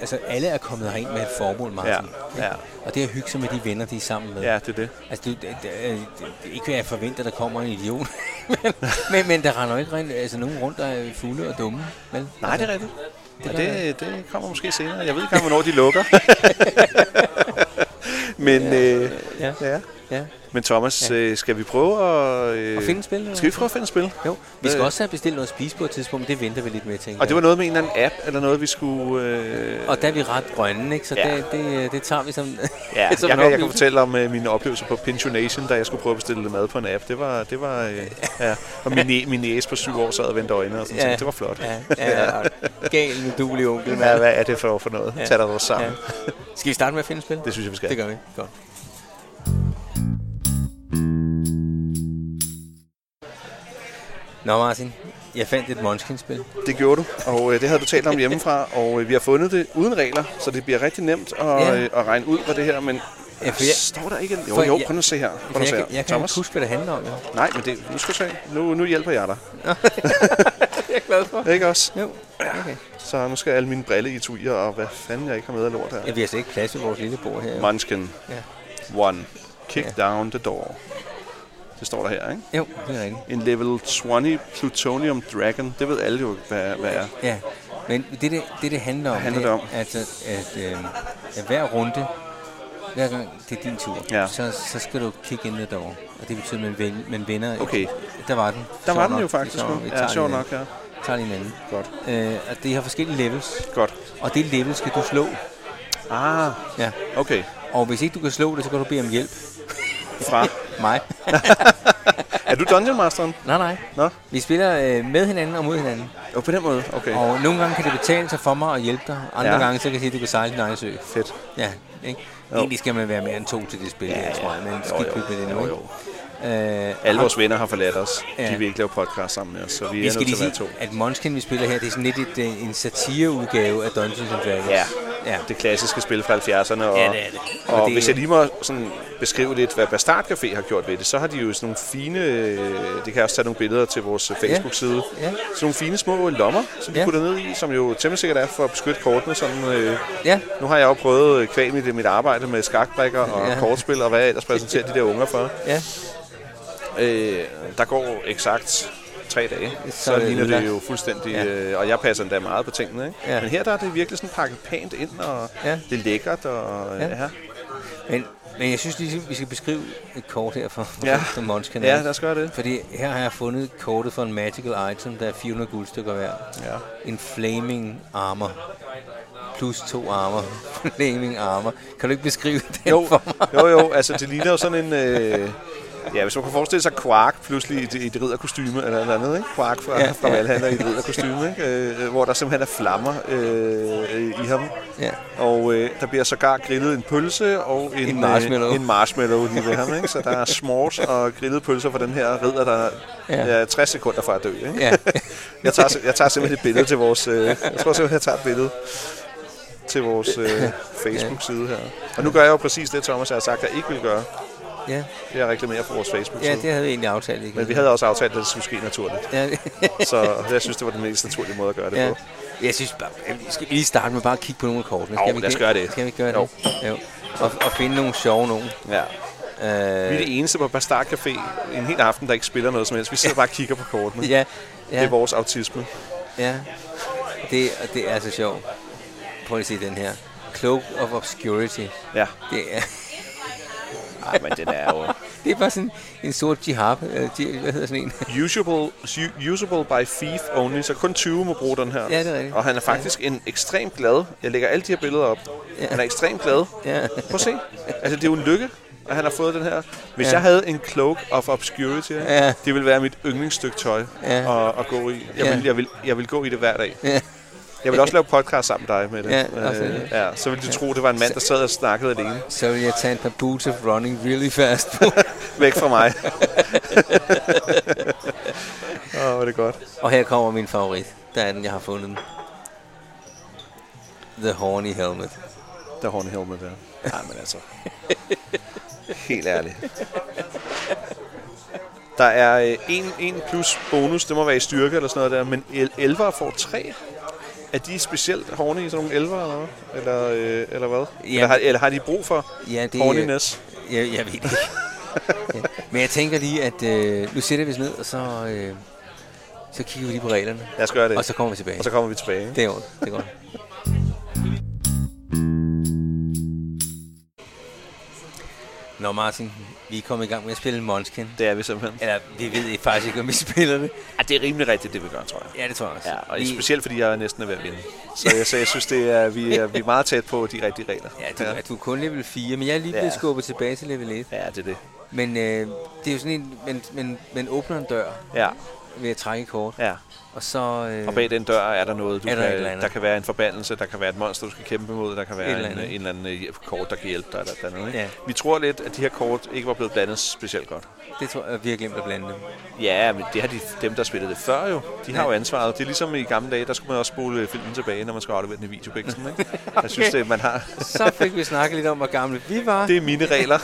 Speaker 1: altså, alle er kommet herind med et formål, Martin.
Speaker 2: Ja, ja.
Speaker 1: Og det er at hygge sig med de venner, de er sammen med.
Speaker 2: tidspunkt. Ja, det er det.
Speaker 1: Altså, det, det, det, øh, det, det, ikke hvad jeg forventer, der kommer en idiot. men, men der render jo ikke rent, altså, nogen rundt, der er fulde og dumme. Vel? Altså.
Speaker 2: Nej, det er rigtigt. Det, og
Speaker 1: gør
Speaker 2: det, det kommer måske senere. Jeg ved ikke engang, hvornår de lukker. men, ja. Øh,
Speaker 1: Ja,
Speaker 2: ja.
Speaker 1: ja.
Speaker 2: men Thomas,
Speaker 1: Ja.
Speaker 2: ja. Øh, skal vi prøve at... Øh,
Speaker 1: Og finde et spil? eller
Speaker 2: skal vi
Speaker 1: hvad?
Speaker 2: prøve at finde et spil?
Speaker 1: Jo, vi skal
Speaker 2: Øh.
Speaker 1: også have bestilt noget at spise på et tidspunkt, men det venter vi lidt med, tænker
Speaker 2: Og det
Speaker 1: jeg.
Speaker 2: var noget med en eller anden app, eller noget, vi skulle... Øh,
Speaker 1: Og der er vi ret grønne, ikke? så
Speaker 2: Ja.
Speaker 1: ja. det, det, det tager vi som,
Speaker 2: ja,
Speaker 1: som
Speaker 2: jeg,
Speaker 1: en
Speaker 2: kan, jeg kan
Speaker 1: oplevelse.
Speaker 2: fortælle om øh, mine oplevelser på Pinchonation, da jeg skulle prøve at bestille mad på en app. Det var... Det var øh, ja. Og min, næ- min næse på syv år sad og vendte øjnene og sådan ja.
Speaker 1: Ja.
Speaker 2: ting. Det var flot. Ja.
Speaker 1: Ja, ja, ja. Gal med duelig onkel.
Speaker 2: Hvad,
Speaker 1: mand.
Speaker 2: hvad er det for, for noget? Ja.
Speaker 1: Ja.
Speaker 2: Tag dig dog sammen.
Speaker 1: Ja.
Speaker 2: Ja.
Speaker 1: Skal vi starte med at finde et spil?
Speaker 2: Det synes jeg, vi skal.
Speaker 1: det gør vi. Godt. Nå Martin, jeg fandt et Munchkin-spil.
Speaker 2: Det gjorde du, og øh, det havde du talt om hjemmefra, og øh, vi har fundet det uden regler, så det bliver rigtig nemt at,
Speaker 1: Ja.
Speaker 2: øh, at regne ud på det her, men
Speaker 1: Ja, for jeg-
Speaker 2: står der ikke... en- Jo,
Speaker 1: for
Speaker 2: jo,
Speaker 1: jeg-
Speaker 2: prøv nu at se her. Prøv nu at
Speaker 1: jeg,
Speaker 2: se
Speaker 1: kan,
Speaker 2: her.
Speaker 1: jeg kan ikke
Speaker 2: Thomas?
Speaker 1: huske, hvad det handler om. Jo.
Speaker 2: Nej, men det, nu skal du se. Nu, nu hjælper jeg dig.
Speaker 1: Jeg er glad for.
Speaker 2: Ikke også?
Speaker 1: Jo, okay.
Speaker 2: Så nu skal alle mine brille i tuier, og hvad fanden jeg ikke har med af lort her.
Speaker 1: Ja, vi har slet ikke plads i vores lille bord her. Jo.
Speaker 2: Munchkin.
Speaker 1: Ja.
Speaker 2: One. Kick
Speaker 1: Ja.
Speaker 2: down the door. Det står der her, ikke?
Speaker 1: jo, det er rigtigt.
Speaker 2: En level 20 plutonium dragon. Det ved alle jo, hvad, hvad er.
Speaker 1: Ja, men det, det, det, det handler om,
Speaker 2: handler
Speaker 1: er,
Speaker 2: det om?
Speaker 1: Altså, at, øh, at hver runde, hver gang det er din tur,
Speaker 2: Ja.
Speaker 1: så, så skal du kigge ind derovre. Og det betyder, at man, ven, man vinder.
Speaker 2: Okay.
Speaker 1: Der var den.
Speaker 2: Der
Speaker 1: Sjov
Speaker 2: var den
Speaker 1: nok.
Speaker 2: jo faktisk.
Speaker 1: Vi tager-
Speaker 2: nu.
Speaker 1: vi
Speaker 2: Ja,
Speaker 1: tager
Speaker 2: sjov
Speaker 1: lige
Speaker 2: nok, ja.
Speaker 1: en- tager lige en anden.
Speaker 2: Godt.
Speaker 1: Øh, og det har forskellige levels,
Speaker 2: Godt.
Speaker 1: og det level skal du slå.
Speaker 2: Ah,
Speaker 1: Ja.
Speaker 2: okay.
Speaker 1: Og hvis ikke du kan slå det, så kan du bede om hjælp.
Speaker 2: Fra
Speaker 1: Mig?
Speaker 2: Er du Dungeon Masteren?
Speaker 1: nej, nej.
Speaker 2: Nå.
Speaker 1: Vi spiller øh, med hinanden og mod hinanden.
Speaker 2: Jo, på den måde. Okay.
Speaker 1: Og nogle gange kan det betale sig for mig at hjælpe dig. Andre
Speaker 2: Ja.
Speaker 1: ja. gange, så kan jeg sige, at du kan sejle din egen sø.
Speaker 2: Fedt.
Speaker 1: Ja, ikke? Egentlig skal man være mere end to til det spil, ja, her, tror jeg, men skidt pyt med det nu. ikke? Øh,
Speaker 2: Alle
Speaker 1: og-
Speaker 2: vores venner har forladt os.
Speaker 1: Ja.
Speaker 2: De vil ikke lave podcast sammen med os, så vi,
Speaker 1: vi
Speaker 2: er
Speaker 1: skal
Speaker 2: nødt
Speaker 1: lige
Speaker 2: til at være to.
Speaker 1: sige, at Munchkin, vi spiller her, det er sådan lidt et, øh, en satireudgave af Dungeons and Dragons.
Speaker 2: Ja.
Speaker 1: ja.
Speaker 2: Det klassiske spil fra 70'erne. Og,
Speaker 1: Ja, det er det.
Speaker 2: Og,
Speaker 1: Og
Speaker 2: og
Speaker 1: det-
Speaker 2: hvis jeg lige må sådan beskrive lidt, hvad Bastard Café har gjort ved det, så har de jo sådan nogle fine, øh, det kan jeg også tage nogle billeder til vores øh, Facebook-side,
Speaker 1: Ja.
Speaker 2: sådan nogle fine små lommer, som de
Speaker 1: Ja.
Speaker 2: putter ned i, som jo temmelig sikkert er for at beskytte kortene. Sådan, øh,
Speaker 1: Ja,
Speaker 2: nu har jeg jo prøvet øh, kvæl mit, mit arbejde med skakbrækker og
Speaker 1: Ja.
Speaker 2: kortspil, og hvad jeg ellers præsenterer de der unger for.
Speaker 1: ja.
Speaker 2: Øh, der går eksakt tre dage, så,
Speaker 1: er
Speaker 2: så
Speaker 1: det
Speaker 2: ligner det
Speaker 1: ødelagt.
Speaker 2: jo fuldstændig, ja.
Speaker 1: Ja.
Speaker 2: øh, og jeg passer endda meget på tingene. Ikke? Ja.
Speaker 1: Ja.
Speaker 2: Men her der er det virkelig sådan pakket pænt ind, og ja.
Speaker 1: Ja.
Speaker 2: det er lækkert. Og, øh,
Speaker 1: Ja.
Speaker 2: ja.
Speaker 1: Men, men jeg synes lige, vi skal beskrive et kort her for,
Speaker 2: Ja.
Speaker 1: ja. for Munchkin.
Speaker 2: ja,
Speaker 1: ikke?
Speaker 2: lad os gøre det.
Speaker 1: Fordi her har jeg fundet kortet for en magical item, der er 400 guldstykker værd.
Speaker 2: Ja.
Speaker 1: En flaming armor. Plus to armor. flaming armor. Kan du ikke beskrive den
Speaker 2: Jo,
Speaker 1: for mig?
Speaker 2: jo, jo, altså det ligner jo sådan en... Øh, ja, hvis man kunne forestille sig Quark pludselig i et, i et ridderkostyme eller noget andet, ikke? Quark fra, ja,
Speaker 1: Ja,
Speaker 2: fra
Speaker 1: ja.
Speaker 2: Valhalla i et ridderkostyme, ikke? Øh, hvor der simpelthen er flammer øh, øh, i ham.
Speaker 1: Ja.
Speaker 2: Og øh, der bliver sågar grillet en pølse og en,
Speaker 1: En marshmallow.
Speaker 2: Øh, en marshmallow lige ved ham, ikke? Så der er smors og grillede pølser for den her ridder, der ja.
Speaker 1: Ja.
Speaker 2: er 60 sekunder fra at dø, ikke?
Speaker 1: Ja.
Speaker 2: Jeg tager, sim- jeg tager simpelthen et billede til vores... Øh, jeg tror simpelthen, jeg tager et billede til vores øh, Facebook-side her. Og nu gør jeg jo præcis det, Thomas jeg har sagt, jeg ikke vil gøre.
Speaker 1: ja.
Speaker 2: Det er at reklamere for vores Facebook-side.
Speaker 1: Ja, det havde vi egentlig aftalt. Ikke?
Speaker 2: Men vi havde også aftalt, at det skulle ske naturligt.
Speaker 1: Ja,
Speaker 2: Så jeg synes, det var den mest naturlige måde at gøre det
Speaker 1: ja.
Speaker 2: på.
Speaker 1: Jeg synes bare, vi skal lige starte med bare at kigge på nogle af kortene.
Speaker 2: Jo, lad os gøre det.
Speaker 1: Skal vi ikke gøre
Speaker 2: Jo.
Speaker 1: det? Jo. Og, og finde nogle sjove nogen.
Speaker 2: Ja. Vi
Speaker 1: Øh,
Speaker 2: er det eneste på Bastard Café en hel aften, der ikke spiller noget som helst. Vi sidder bare og kigger på kortene.
Speaker 1: ja,
Speaker 2: Det er
Speaker 1: ja,
Speaker 2: vores autisme.
Speaker 1: ja. Det, og det er så sjovt. Prøv lige at se den her. Cloak of Obscurity.
Speaker 2: Ja.
Speaker 1: Det er,
Speaker 2: Ej, men den er jo...
Speaker 1: det er bare sådan en sort jihab. Øh, ji- Hvad hedder sådan en?
Speaker 2: Usable, su- usable by thief only, så kun 20 må bruge den her.
Speaker 1: Ja, det er rigtigt.
Speaker 2: Og han er faktisk en ekstremt glad. Jeg lægger alle de her billeder op. Ja. Han er ekstremt glad.
Speaker 1: Ja.
Speaker 2: Prøv at se. Altså, det er jo en lykke, at han har fået den her. Hvis ja.
Speaker 1: Ja.
Speaker 2: jeg havde en Cloak of Obscurity,
Speaker 1: Ja.
Speaker 2: det ville være mit yndlingsstykke tøj
Speaker 1: Ja.
Speaker 2: at, at gå i. Jeg,
Speaker 1: Ja.
Speaker 2: vil, jeg, vil, jeg vil gå i det hver dag.
Speaker 1: Ja.
Speaker 2: Jeg vil også lave podcast sammen med dig med det.
Speaker 1: Ja, også det.
Speaker 2: ja, så ville du tro, det var en mand, der sad og snakkede alene.
Speaker 1: Så vil jeg tage en par boots of running really fast på.
Speaker 2: Væk fra mig. Åh, oh, hvor er det godt.
Speaker 1: Og her kommer min favorit. Der er den, jeg har fundet den. The Horny Helmet.
Speaker 2: Der er Horny Helmet der. Nej, men altså. Helt ærligt. Der er øh, en, en plus bonus, det må være i styrke eller sådan noget der, men el- elvere får tre. Er de specielt hårde i sådan nogle elvere eller hvad? Eller, øh, eller hvad?
Speaker 1: Jamen-
Speaker 2: Eller, har, eller har de brug for
Speaker 1: Ja, det,
Speaker 2: horniness?
Speaker 1: Jeg, jeg ved det ikke. ja. Men jeg tænker lige, at øh, nu sætter vi os ned, og så, øh, så kigger vi lige på reglerne.
Speaker 2: Lad os gøre det.
Speaker 1: Og så kommer vi tilbage.
Speaker 2: og så kommer vi tilbage.
Speaker 1: Det er godt. Det er godt. Nå Martin, vi er kommet i gang med at spille Måneskin.
Speaker 2: Det er vi simpelthen.
Speaker 1: Eller vi ved ikke- faktisk ikke, om vi spiller det.
Speaker 2: Ja, det er rimelig rigtigt, det vi gør, tror jeg.
Speaker 1: Ja, det tror jeg også.
Speaker 2: Ja, og
Speaker 1: vi,
Speaker 2: specielt fordi jeg er næsten er ved at vinde. Så jeg, så jeg synes, det er, vi, er, vi er meget tæt på de rigtige regler.
Speaker 1: ja, du, ja, du er kun level 4, men jeg er lige blevet
Speaker 2: Ja.
Speaker 1: skubbet tilbage til level 1.
Speaker 2: ja, det er det.
Speaker 1: Men øh, det er jo sådan en, man, man, man åbner en dør
Speaker 2: Ja,
Speaker 1: ved at trække et kort,
Speaker 2: ja.
Speaker 1: og så... Øh,
Speaker 2: Og bag den dør er der noget, du
Speaker 1: Er der et
Speaker 2: kan,
Speaker 1: eller andet?
Speaker 2: der kan være en forbandelse, der kan være et monster, du skal kæmpe mod, der kan være
Speaker 1: Et
Speaker 2: en,
Speaker 1: eller
Speaker 2: en,
Speaker 1: andet.
Speaker 2: eller anden øh, kort, der kan hjælpe dig. Eller et eller andet, ikke?
Speaker 1: Ja.
Speaker 2: Vi tror lidt, at de her kort ikke var blevet blandet specielt godt.
Speaker 1: Det tror jeg, vi har glemt at blande dem.
Speaker 2: Ja, men det har de, dem, der spillede det før jo. De har
Speaker 1: Ja.
Speaker 2: jo ansvaret. Det er ligesom i gamle dage, der skulle man også spole filmen tilbage, når man skulle aflevere den i videobæksten. Ikke? Jeg synes, det, man har...
Speaker 1: Så fik vi snakket lidt om, hvor gamle vi var.
Speaker 2: Det er mine regler.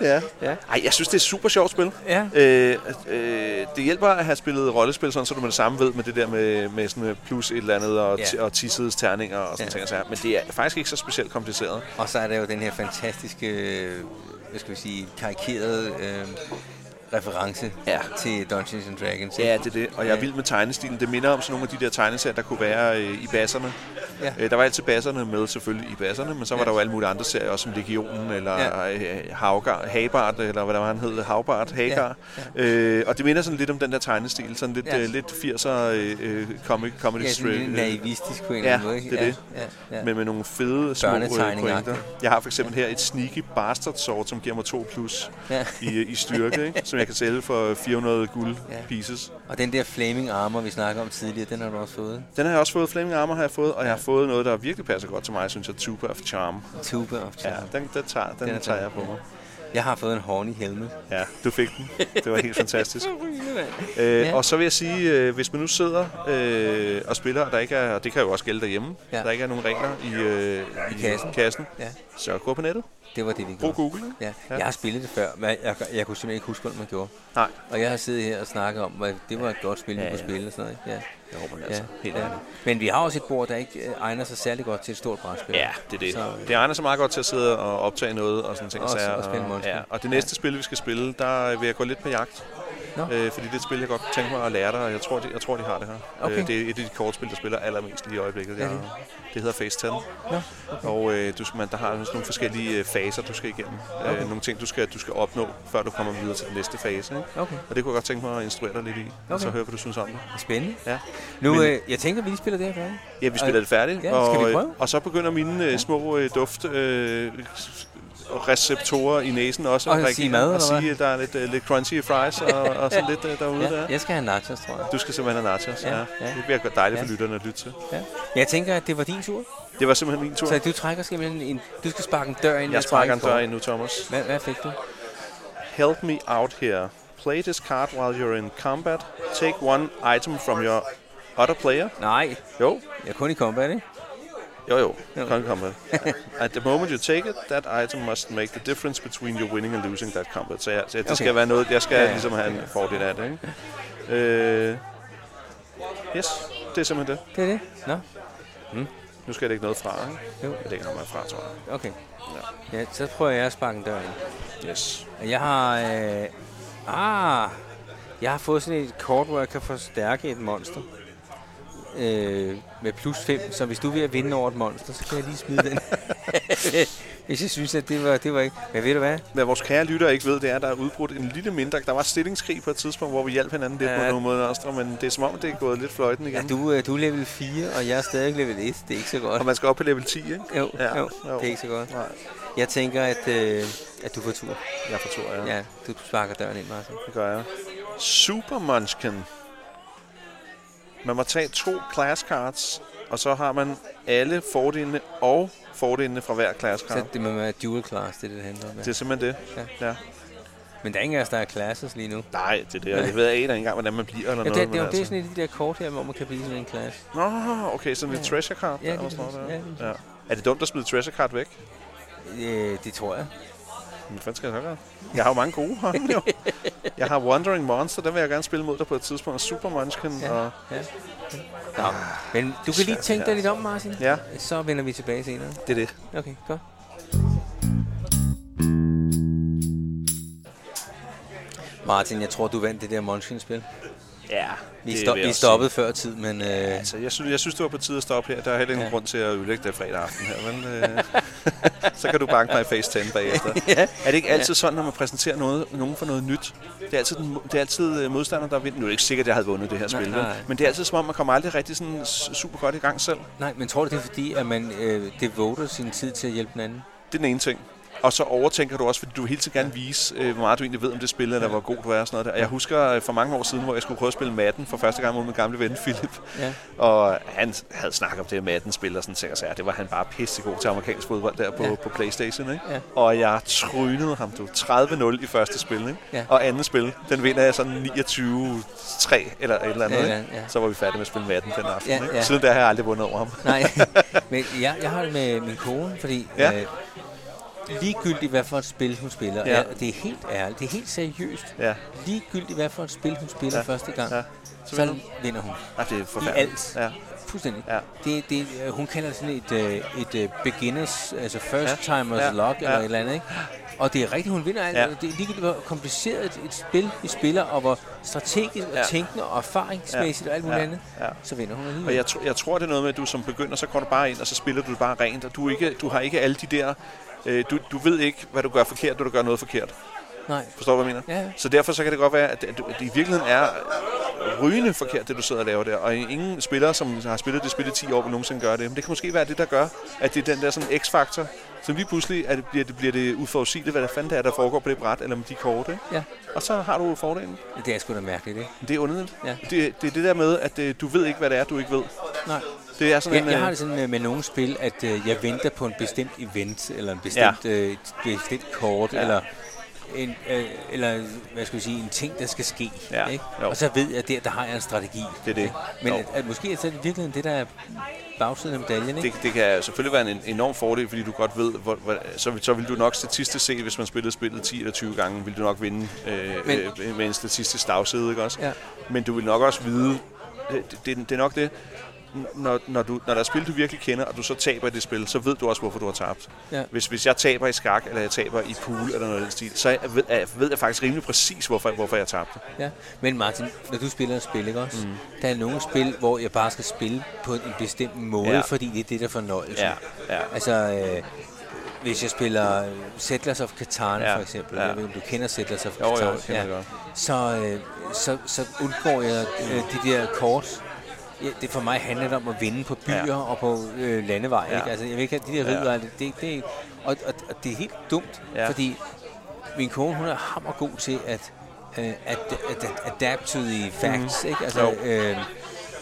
Speaker 2: ja.
Speaker 1: Ja.
Speaker 2: Ej, jeg synes, det er et super sjovt spil.
Speaker 1: Ja.
Speaker 2: Øh, øh, det hjælper at have spillet rollespil, sådan, så du med det samme ved med det der med, med sådan øh, plus et eller andet og,
Speaker 1: Ja.
Speaker 2: ja. og 10 sides terninger og
Speaker 1: Ja.
Speaker 2: sådan ja. ting. og sager. Men det er faktisk ikke så specielt kompliceret.
Speaker 1: Og så er der jo den her fantastiske, øh, hvad skal vi sige, karikerede øh, reference
Speaker 2: Ja.
Speaker 1: til Dungeons and Dragons.
Speaker 2: Ja, det er det. Og jeg er
Speaker 1: Ja.
Speaker 2: vild med tegnestilen. Det minder om sådan nogle af de der tegneserier, der kunne være øh, i basserne.
Speaker 1: Ja.
Speaker 2: Øh, der var altid basserne med selvfølgelig i basserne, men så var
Speaker 1: Ja.
Speaker 2: der jo alle mulige andre serier, også som Legionen, eller
Speaker 1: Ja.
Speaker 2: ja. øh, Havgard, Habart, eller hvad der var, han hed, Havbart, Hagar. Ja. Ja. Øh, og det minder sådan lidt om den der tegnestil, sådan lidt,
Speaker 1: Ja.
Speaker 2: ja. øh, lidt 80'er øh, øh, comic, comedy
Speaker 1: ja, sådan
Speaker 2: strip.
Speaker 1: lidt naivistisk på en
Speaker 2: ja,
Speaker 1: eller anden måde. ikke?
Speaker 2: det er det.
Speaker 1: Ja, ja, ja.
Speaker 2: Men med nogle fede små øh,
Speaker 1: Børnetegning-agtigt.
Speaker 2: pointer. Jeg har for eksempel her et sneaky bastard sort, som giver mig 2 plus
Speaker 1: Ja.
Speaker 2: i, øh, i styrke, ikke? som jeg kan sælge for 400 guld
Speaker 1: Ja.
Speaker 2: pieces.
Speaker 1: Og den der flaming armor, vi snakker om tidligere, den har du også fået.
Speaker 2: Den har jeg også fået, Flaming Armor har jeg fået, og jeg har fået noget, der virkelig passer godt til mig, synes jeg, Tuba of Charm.
Speaker 1: Tuba of
Speaker 2: Ja,
Speaker 1: Charm.
Speaker 2: den, den tager, den
Speaker 1: Den er
Speaker 2: tager
Speaker 1: den.
Speaker 2: jeg på mig.
Speaker 1: Jeg har fået en horny helmet.
Speaker 2: Ja, du fik den. Det var helt fantastisk.
Speaker 1: Ja.
Speaker 2: Øh, og så vil jeg sige, øh, hvis man nu sidder øh, og spiller, og der ikke er, og det kan jo også gælde derhjemme,
Speaker 1: Ja.
Speaker 2: ja. der ikke er nogen regler i, øh,
Speaker 1: I kassen.
Speaker 2: kassen,
Speaker 1: Ja.
Speaker 2: så gå på nettet.
Speaker 1: Det var det, vi gjorde.
Speaker 2: Brug Google. ikke?
Speaker 1: Ja.
Speaker 2: Ja.
Speaker 1: Jeg har spillet det før, men jeg, jeg, kunne simpelthen ikke huske, hvad man gjorde.
Speaker 2: Nej.
Speaker 1: Og jeg har siddet her og snakket om, at det var et godt spil, vi
Speaker 2: Ja,
Speaker 1: kunne
Speaker 2: ja.
Speaker 1: spille og sådan noget. ikke?
Speaker 2: Jeg håber det
Speaker 1: Ja.
Speaker 2: altså.
Speaker 1: Ja.
Speaker 2: Helt
Speaker 1: ja.
Speaker 2: ærligt.
Speaker 1: Men vi har også et bord, der ikke øh, egner sig særlig godt til et stort brætspil.
Speaker 2: Ja, det er det.
Speaker 1: Så, øh,
Speaker 2: Så, det egner så meget godt til at sidde og optage noget og sådan ting.
Speaker 1: Og-
Speaker 2: sager,
Speaker 1: og spille Monster.
Speaker 2: ja. og det næste ja. spil, vi skal spille, der vil jeg gå lidt på jagt.
Speaker 1: Nå.
Speaker 2: Øh, fordi det er et spil, jeg godt kunne tænke mig at lære dig, og jeg tror, de, jeg tror, de har det her.
Speaker 1: Okay.
Speaker 2: Øh, det er et af de kortspil, der spiller allermest lige i øjeblikket.
Speaker 1: Ja,
Speaker 2: Jeg,
Speaker 1: det.
Speaker 2: det hedder Phase 10.
Speaker 1: Nå,
Speaker 2: Og øh, du, skal- man, der har sådan nogle forskellige øh, faser, du skal igennem. Okay. Øh, nogle ting, du skal, du skal opnå, før du kommer videre til den næste fase. Ikke?
Speaker 1: Okay,
Speaker 2: Og det kunne jeg godt tænke mig at instruere dig lidt i, og så
Speaker 1: Okay.
Speaker 2: høre, hvad du synes om det.
Speaker 1: spændende.
Speaker 2: Ja.
Speaker 1: Nu,
Speaker 2: Men-
Speaker 1: øh, jeg tænker, vi lige spiller det her færdigt.
Speaker 2: Ja, vi spiller
Speaker 1: Og-
Speaker 2: det færdigt.
Speaker 1: ja,
Speaker 2: og,
Speaker 1: skal vi
Speaker 2: øh,
Speaker 1: prøve?
Speaker 2: og så begynder mine øh, små øh, duft øh, s- receptorer i næsen også
Speaker 1: Og at
Speaker 2: reagere
Speaker 1: sige mad,
Speaker 2: og
Speaker 1: eller hvad?
Speaker 2: sige, at der er lidt, øh, lidt crunchy i fries og, og sådan lidt øh, derude
Speaker 1: Ja,
Speaker 2: der.
Speaker 1: jeg skal have nachos, tror jeg.
Speaker 2: Du skal simpelthen have nachos.
Speaker 1: Ja,
Speaker 2: Ja,
Speaker 1: ja.
Speaker 2: ja. Det bliver godt dejligt for
Speaker 1: Ja.
Speaker 2: lytterne at lytte til.
Speaker 1: Ja. Jeg tænker, at det var din tur.
Speaker 2: Det var simpelthen min tur.
Speaker 1: Så du trækker simpelthen en... Du skal sparke en dør ind.
Speaker 2: Jeg
Speaker 1: og trække
Speaker 2: sparker en
Speaker 1: et
Speaker 2: dør
Speaker 1: kort.
Speaker 2: ind nu, Thomas.
Speaker 1: Hvad, hvad fik du?
Speaker 2: Help me out here. Play this card while you're in combat. Take one item from your other player.
Speaker 1: Nej,
Speaker 2: Jo,
Speaker 1: jeg er kun i combat, ikke?
Speaker 2: Jo, jo.
Speaker 1: Jo.
Speaker 2: Kong Combat. At the moment you take it, that item must make the difference between you winning and losing that combat. Så, jeg, så det
Speaker 1: Okay.
Speaker 2: okay. skal være noget, jeg skal
Speaker 1: Ja,
Speaker 2: ja,
Speaker 1: ja.
Speaker 2: ja. ligesom have en fordel af det, ikke? Øh, yes, det er simpelthen det.
Speaker 1: Det er det. Nå,
Speaker 2: Nu skal jeg lægge noget fra, ikke?
Speaker 1: jo.
Speaker 2: Jeg lægger noget fra, tror jeg.
Speaker 1: Okay. Ja, så prøver jeg at sparke en dør ind.
Speaker 2: Yes.
Speaker 1: Og Jeg har... Øh, ah, jeg har fået sådan et kort, hvor jeg kan forstærke et monster. Øh, med plus 5, så hvis du er ved at vinde over et monster, så kan jeg lige smide den. hvis jeg synes, at det var, det var ikke... Men ved du hvad?
Speaker 2: Hvad vores kære lytter ikke ved, det er, at der er udbrudt en lille mindre... Der var stillingskrig på et tidspunkt, hvor vi hjalp hinanden lidt
Speaker 1: Ja.
Speaker 2: ja. på nogle måder, Nostra, men det er som om, det er gået lidt fløjten igen.
Speaker 1: Ja, du, øh, du er level 4, og jeg er stadig level 1. Det er ikke så godt.
Speaker 2: Og man skal op på level 10, ikke?
Speaker 1: Jo, ja,
Speaker 2: Ja,
Speaker 1: jo,
Speaker 2: jo.
Speaker 1: det er ikke så godt.
Speaker 2: Nej,
Speaker 1: Jeg tænker, at, øh, at du får tur.
Speaker 2: jeg får tur, ja.
Speaker 1: Ja, du sparker døren ind, Martin.
Speaker 2: Det gør jeg. Super Munchkin. Man må tage to class cards, og så har man alle fordelene og fordelene fra hver class card.
Speaker 1: Så det må være dual class, det er det, det handler om. Ja.
Speaker 2: Det er simpelthen det.
Speaker 1: Ja.
Speaker 2: Ja. ja.
Speaker 1: Men der er ingen af os, der er classes lige nu.
Speaker 2: Nej, det er det. og Jeg ved ikke engang, hvordan man bliver eller
Speaker 1: Ja, det, det,
Speaker 2: noget. men
Speaker 1: det, det er
Speaker 2: altså.
Speaker 1: sådan et af de der kort her, hvor man kan blive sådan en klasse.
Speaker 2: Nå, okay, sådan et
Speaker 1: Ja.
Speaker 2: treasure card.
Speaker 1: Ja,
Speaker 2: der,
Speaker 1: lige
Speaker 2: hvor står
Speaker 1: præcis.
Speaker 2: der.
Speaker 1: Ja, lige
Speaker 2: ja. Er det dumt at smide treasure card væk?
Speaker 1: Øh, det tror jeg.
Speaker 2: Men hvad skal jeg så gøre? Jeg har jo mange gode hånd, jo. Jeg har Wandering Monster, den vil jeg gerne spille mod dig på et tidspunkt, og Super Munchkin, ja. og
Speaker 1: Nå, men du kan lige
Speaker 2: svært,
Speaker 1: tænke
Speaker 2: ja,
Speaker 1: dig lidt om, Martin.
Speaker 2: ja,
Speaker 1: Så vender vi tilbage senere.
Speaker 2: det er det.
Speaker 1: Okay, godt. Martin, jeg tror, du vandt det der Munchkin-spil.
Speaker 2: Ja,
Speaker 1: Vi, stop, vi stoppede før tid, men... Øh, ja,
Speaker 2: Altså, jeg, synes, jeg synes, det var på tide at stoppe her. Der er heller ingen
Speaker 1: Ja.
Speaker 2: ja. grund til at ødelægge det fredag aften her, men øh, så kan du banke mig i FaceTime bagefter.
Speaker 1: ja.
Speaker 2: Er det ikke altid sådan, når man præsenterer noget, nogen for noget nyt? Det er altid, den, det er altid øh, modstanderen, der vinder. Nu er det ikke sikkert, at jeg havde vundet det her spil, vel?
Speaker 1: nej.
Speaker 2: men det er altid som om, man kommer aldrig rigtig sådan s- super godt i gang selv.
Speaker 1: Nej, men tror du, det er fordi, at man øh, devoter sin tid til at hjælpe den anden?
Speaker 2: Det er den ene ting. Og så overtænker du også, fordi du vil hele tiden gerne vise, øh, hvor meget du egentlig ved om det spil, eller hvor god du er og sådan noget der. Og Jeg husker øh, for mange år siden, hvor jeg skulle prøve at spille Madden for første gang mod min gamle ven Philip.
Speaker 1: Ja.
Speaker 2: Og han havde snakket om det her Madden-spil og sådan ting, og så, ja, det var han bare pissegod til amerikansk fodbold der på,
Speaker 1: Ja.
Speaker 2: ja. på Playstation, ikke?
Speaker 1: Ja.
Speaker 2: Og jeg trynede ham, du. 30-0 i første spil, ikke?
Speaker 1: Ja.
Speaker 2: Og andet spil, den vinder jeg sådan 29-3 eller et eller andet,
Speaker 1: Ja,
Speaker 2: ikke?
Speaker 1: ja.
Speaker 2: Så var vi færdige med at spille Madden den aften,
Speaker 1: Ja,
Speaker 2: ikke?
Speaker 1: ja.
Speaker 2: Siden der har jeg aldrig vundet over ham.
Speaker 1: Nej, men jeg, jeg har det med min kone, fordi
Speaker 2: Ja.
Speaker 1: øh, ligegyldigt hvad for et spil hun spiller, ja.
Speaker 2: Ja.
Speaker 1: Ja, det er helt ærligt, det er helt seriøst,
Speaker 2: Ja.
Speaker 1: ligegyldigt hvad for et spil hun spiller ja.
Speaker 2: Ja.
Speaker 1: første gang, ja.
Speaker 2: Ja.
Speaker 1: så,
Speaker 2: Så
Speaker 1: så
Speaker 2: vinder
Speaker 1: vinder hun.
Speaker 2: Ah, det er
Speaker 1: I alt.
Speaker 2: forfærdeligt. Ja.
Speaker 1: Fuldstændig.
Speaker 2: Ja.
Speaker 1: Det, det, øh, hun kalder det sådan et, øh, et øh, beginners, altså first timers ja.
Speaker 2: Ja.
Speaker 1: log eller
Speaker 2: Ja.
Speaker 1: et eller andet, ikke? Og det er rigtigt, hun vinder alt. Ja.
Speaker 2: Ja.
Speaker 1: Det er ligegyldigt, hvor kompliceret et, et spil vi spiller, og hvor strategisk og
Speaker 2: Ja.
Speaker 1: tænkende og erfaringsmæssigt og alt muligt
Speaker 2: Ja.
Speaker 1: andet,
Speaker 2: Ja.
Speaker 1: så vinder hun alligevel.
Speaker 2: Og jeg, tr- jeg tror, det er noget med, at du som begynder, så går du bare ind, og så spiller du det bare rent, og du, er ikke, du har ikke alle de der... Øh, du, du ved ikke, hvad du gør forkert, når du gør noget forkert.
Speaker 1: Nej.
Speaker 2: Forstår du, hvad jeg mener?
Speaker 1: Ja.
Speaker 2: Så derfor så kan det godt være, at, at, du- at det i virkeligheden er rygende forkert, det du sidder og laver der. Og ingen spiller, som har spillet det spil i 10 år, vil nogensinde gøre det. Men det kan måske være det, der gør, at det er den der sådan x-faktor, som lige pludselig at det bliver, det bliver det uforudsigeligt, hvad der fanden der er, der foregår på det bræt, eller med de kort. Ikke?
Speaker 1: Ja.
Speaker 2: Og så har du fordelen.
Speaker 1: Det er sgu da mærkeligt, ikke?
Speaker 2: Det er underligt.
Speaker 1: Ja.
Speaker 2: Det, det er det der med, at øh, du ved ikke, hvad det er, du ikke ved.
Speaker 1: Nej.
Speaker 2: Det er sådan
Speaker 1: Jeg,
Speaker 2: en,
Speaker 1: jeg
Speaker 2: øh,
Speaker 1: har det sådan øh, med nogle spil, at øh, jeg venter på en bestemt event, eller en bestemt, ja. øh, et bestemt kort, ja.
Speaker 2: Ja.
Speaker 1: eller, en, øh, eller hvad skal jeg sige, en ting, der skal ske.
Speaker 2: Ja,
Speaker 1: Ikke?
Speaker 2: jo.
Speaker 1: Og så ved jeg, at der, der har jeg en strategi.
Speaker 2: Det er det.
Speaker 1: Ikke? Men
Speaker 2: Jo.
Speaker 1: at, at måske er det i virkeligheden det, der er bagsiden af medaljen. Ikke?
Speaker 2: Det, det kan selvfølgelig være en enorm fordel, fordi du godt ved, hvor, hvor, så, vil- så vil du nok statistisk set, hvis man spillede spillet 10 eller 20 gange, vil du nok vinde øh,
Speaker 1: Men-
Speaker 2: Men, øh, med en statistisk dagside, ikke også?
Speaker 1: Ja.
Speaker 2: Men du vil nok også vide, øh, det, det, det er nok det, når, når, du, når der er spil, du virkelig kender, og du så taber i det spil, så ved du også, hvorfor du har tabt.
Speaker 1: Ja.
Speaker 2: Hvis, hvis jeg taber i skak, eller jeg taber i pool, eller noget af den stil, så jeg ved, jeg, ved jeg faktisk rimelig præcis, hvorfor, hvorfor jeg tabte.
Speaker 1: Ja. Men Martin, når du spiller et spil, ikke også? Mm. Der er nogle spil, hvor jeg bare skal spille på en bestemt måde, ja.
Speaker 2: Ja.
Speaker 1: fordi det er det, der er fornøjelsen.
Speaker 2: ja.
Speaker 1: Altså, øh, hvis jeg spiller øh, Settlers of Catan ja.
Speaker 2: Ja,
Speaker 1: for eksempel,
Speaker 2: ja.
Speaker 1: jeg ved, ikke, om du kender Settlers of
Speaker 2: Jo, jo,
Speaker 1: Catan,
Speaker 2: jeg kender det godt.
Speaker 1: så, øh, så, så undgår jeg øh, de der kort. Ja, det for mig handler det om at vinde på byer ja.
Speaker 2: Ja.
Speaker 1: og på øh, landeveje. Ja.
Speaker 2: Ja.
Speaker 1: Ikke? Altså, jeg vil ikke have de der
Speaker 2: Ja.
Speaker 1: ridder, ja. det, det, det, og, og, og det er helt dumt, ja.
Speaker 2: Ja.
Speaker 1: fordi min kone hun er hammergod til at, øh, at, at, at adapt to the facts, mm. ikke? Altså,
Speaker 2: Mhm. Jo.
Speaker 1: øh,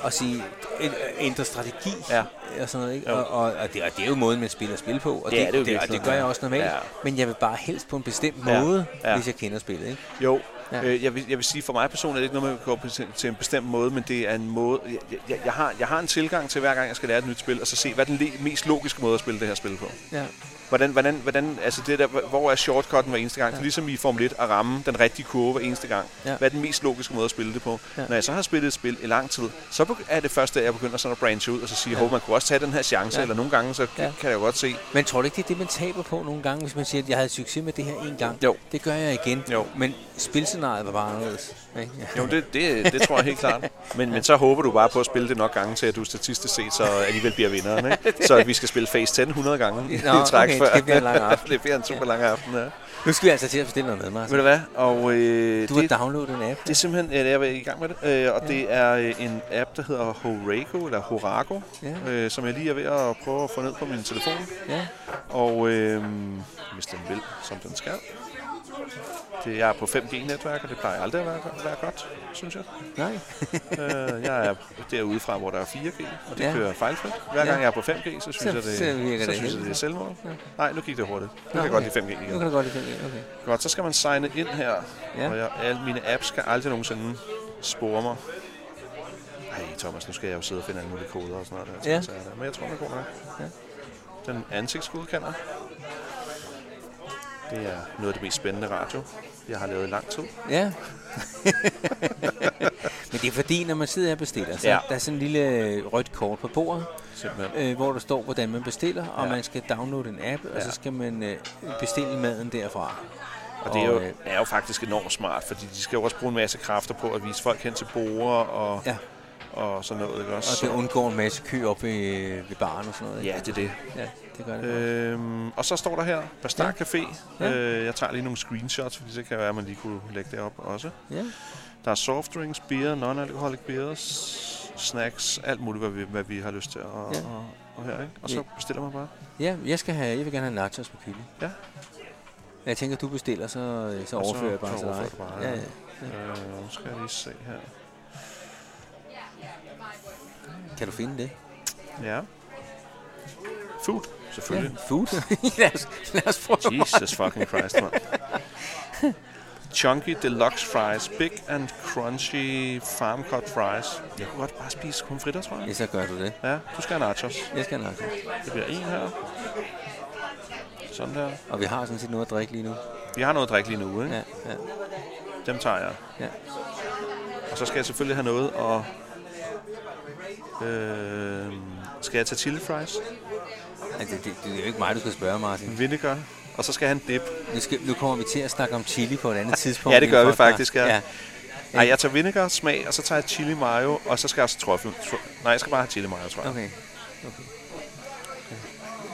Speaker 1: og sige, ænd- ændre strategi ja.
Speaker 2: Ja.
Speaker 1: og sådan noget, ikke?
Speaker 2: Jo.
Speaker 1: Og, og, og, det, og det er jo måden, man spiller spil på, og
Speaker 2: Det er det jo
Speaker 1: det, og
Speaker 2: virkelig.
Speaker 1: det gør jeg også normalt, ja.
Speaker 2: Ja.
Speaker 1: men jeg vil bare helst på en bestemt
Speaker 2: Ja.
Speaker 1: måde,
Speaker 2: Ja.
Speaker 1: hvis jeg kender spillet, ikke?
Speaker 2: Jo,
Speaker 1: Ja.
Speaker 2: ja. øh, jeg, vil, jeg vil sige, for mig personligt er det ikke noget, man kan gå på til, til en bestemt måde, men det er en måde... Jeg, jeg, jeg, har, jeg har en tilgang til, hver gang jeg skal lære et nyt spil, og så se, hvad er den le- mest logiske måde at spille det her spil på.
Speaker 1: Ja.
Speaker 2: Hvordan, hvordan, hvordan, altså det der, hvor er shortcutten hver eneste gang? Ja. Ligesom i Formel 1 at ramme den rigtige kurve hver eneste gang.
Speaker 1: Ja.
Speaker 2: Ja. Hvad er den mest logiske måde at spille det på?
Speaker 1: Ja.
Speaker 2: Ja. Når jeg så har spillet et spil i lang tid, så begy- er det første, at jeg begynder sådan at branche ud og så sige, ja. man kunne også tage den her chance,
Speaker 1: Ja.
Speaker 2: ja. eller nogle gange, så
Speaker 1: Ja.
Speaker 2: ja. kan jeg jo godt se,
Speaker 1: Men tror du ikke, det er det, man taber på nogle gange, hvis man siger, at jeg havde succes med det her en gang?
Speaker 2: Jo.
Speaker 1: Det gør jeg igen.
Speaker 2: Jo.
Speaker 1: Men spilscenariet var bare anderledes. Ikke? Ja.
Speaker 2: Jo, det, det, det tror jeg helt klart. Men, men så håber du bare på at spille det nok gange til, at du statistisk set så alligevel bliver vinderen. Ikke? Så at vi skal spille Phase 10 100 gange i
Speaker 1: Nå,
Speaker 2: træk
Speaker 1: okay,
Speaker 2: før.
Speaker 1: det bliver en lang aften.
Speaker 2: det bliver en super lang aften, ja.
Speaker 1: Nu skal vi altså til at bestille noget med, Martin.
Speaker 2: Ved du hvad? Og, øh,
Speaker 1: Du har
Speaker 2: det,
Speaker 1: downloadet en app.
Speaker 2: det er simpelthen, ja, jeg er i gang med det, øh, og det er øh, en app, der hedder Horago, eller Horago,
Speaker 1: Ja.
Speaker 2: øh, som jeg lige er ved at prøve at få ned på min telefon.
Speaker 1: Ja.
Speaker 2: Og øh, hvis den vil, som den skal. Det, jeg er på 5G-netværk, og det plejer aldrig at være, være godt, synes jeg.
Speaker 1: Nej.
Speaker 2: Øh, jeg er derude fra, hvor der er 4G, og det
Speaker 1: Ja.
Speaker 2: ja. kører fejlfrit. Hver
Speaker 1: Ja.
Speaker 2: gang jeg er på 5G, så synes
Speaker 1: Så-
Speaker 2: jeg, det,
Speaker 1: så virker
Speaker 2: så
Speaker 1: det
Speaker 2: synes jeg,
Speaker 1: helt.
Speaker 2: det er selvmål.
Speaker 1: Ja.
Speaker 2: Nej, nu gik det hurtigt. Nu kan jeg
Speaker 1: okay.
Speaker 2: godt lide 5G
Speaker 1: Nu
Speaker 2: igen.
Speaker 1: kan du godt lide det. Okay.
Speaker 2: Godt, så skal man signe ind her,
Speaker 1: Ja.
Speaker 2: ja. og jeg, alle mine apps skal aldrig nogensinde spore mig. Ej, Thomas, nu skal jeg jo sidde og finde alle mulige koder og sådan noget. Der, til
Speaker 1: Ja.
Speaker 2: at tage det. Men jeg tror, det går nok.
Speaker 1: Ja.
Speaker 2: Den ansigtsgodkender. Det er noget af det mest spændende radio, jeg har lavet i lang tid.
Speaker 1: Ja. Men det er fordi, når man sidder her og bestiller, så
Speaker 2: Ja.
Speaker 1: ja. der er sådan en lille øh, rødt kort på bordet,
Speaker 2: Simpelthen.
Speaker 1: øh, hvor der står, hvordan man bestiller, og
Speaker 2: Ja.
Speaker 1: ja. man skal downloade en app, og
Speaker 2: Ja.
Speaker 1: så skal man øh, bestille maden derfra.
Speaker 2: Og det er
Speaker 1: øh,
Speaker 2: jo, er jo faktisk enormt smart, fordi de skal jo også bruge en masse kræfter på at vise folk hen til borer og,
Speaker 1: ja,
Speaker 2: og sådan noget. Ikke
Speaker 1: og
Speaker 2: også?
Speaker 1: det undgår en masse kø op ved, ved baren og sådan noget. ikke?
Speaker 2: ja, det er det.
Speaker 1: ja det gør det godt.
Speaker 2: Øhm, og så står der her, Bastard Café.
Speaker 1: Ja.
Speaker 2: Øh, jeg tager lige nogle screenshots, fordi så kan det være, at man lige kunne lægge det op også.
Speaker 1: Ja.
Speaker 2: Der er soft drinks, beer, non-alcoholic beers, snacks, alt muligt, hvad vi, hvad vi har lyst til. Og,
Speaker 1: Ja.
Speaker 2: og, og her, ikke? Og så bestiller man bare.
Speaker 1: ja, jeg skal have, jeg vil gerne have nachos med kylling.
Speaker 2: Ja.
Speaker 1: Jeg tænker, du bestiller, så, øh, så
Speaker 2: Og så-
Speaker 1: overfører jeg bare
Speaker 2: så
Speaker 1: til dig.
Speaker 2: overfører du bare,
Speaker 1: ja.
Speaker 2: ja.
Speaker 1: ja.
Speaker 2: Øh, nu skal jeg lige se her.
Speaker 1: Kan du finde det?
Speaker 2: Ja. Food, selvfølgelig.
Speaker 1: Ja, food. lad, os, lad os prøve.
Speaker 2: Jesus fucking Christ, man. Chunky deluxe fries, big and crunchy farm cut fries. Jeg kunne godt bare spise konfritter, tror jeg.
Speaker 1: Ja, så gør du det.
Speaker 2: Ja, du skal have nachos.
Speaker 1: Jeg skal have nachos.
Speaker 2: Det bliver en her. Sådan der.
Speaker 1: Og vi har sådan set noget at drikke lige nu.
Speaker 2: Vi har noget at drikke lige nu, ikke?
Speaker 1: Ja, ja,
Speaker 2: Dem tager jeg.
Speaker 1: ja.
Speaker 2: Og så skal jeg selvfølgelig have noget og... Øh, skal jeg tage chili fries?
Speaker 1: Altså, det, det, er jo ikke mig, du skal spørge, Martin.
Speaker 2: Vinegar? Og så skal jeg have en dip.
Speaker 1: Nu, skal, nu kommer vi til at snakke om chili på et andet tidspunkt.
Speaker 2: Ja, det
Speaker 1: i
Speaker 2: gør vi
Speaker 1: podcasten.
Speaker 2: faktisk, ja.
Speaker 1: ja.
Speaker 2: Nej, jeg tager vinegar, smag, og så tager jeg chili mayo, og så skal jeg også trøffel. Tr- Nej, jeg skal bare have chili mayo, tror jeg.
Speaker 1: Okay. okay.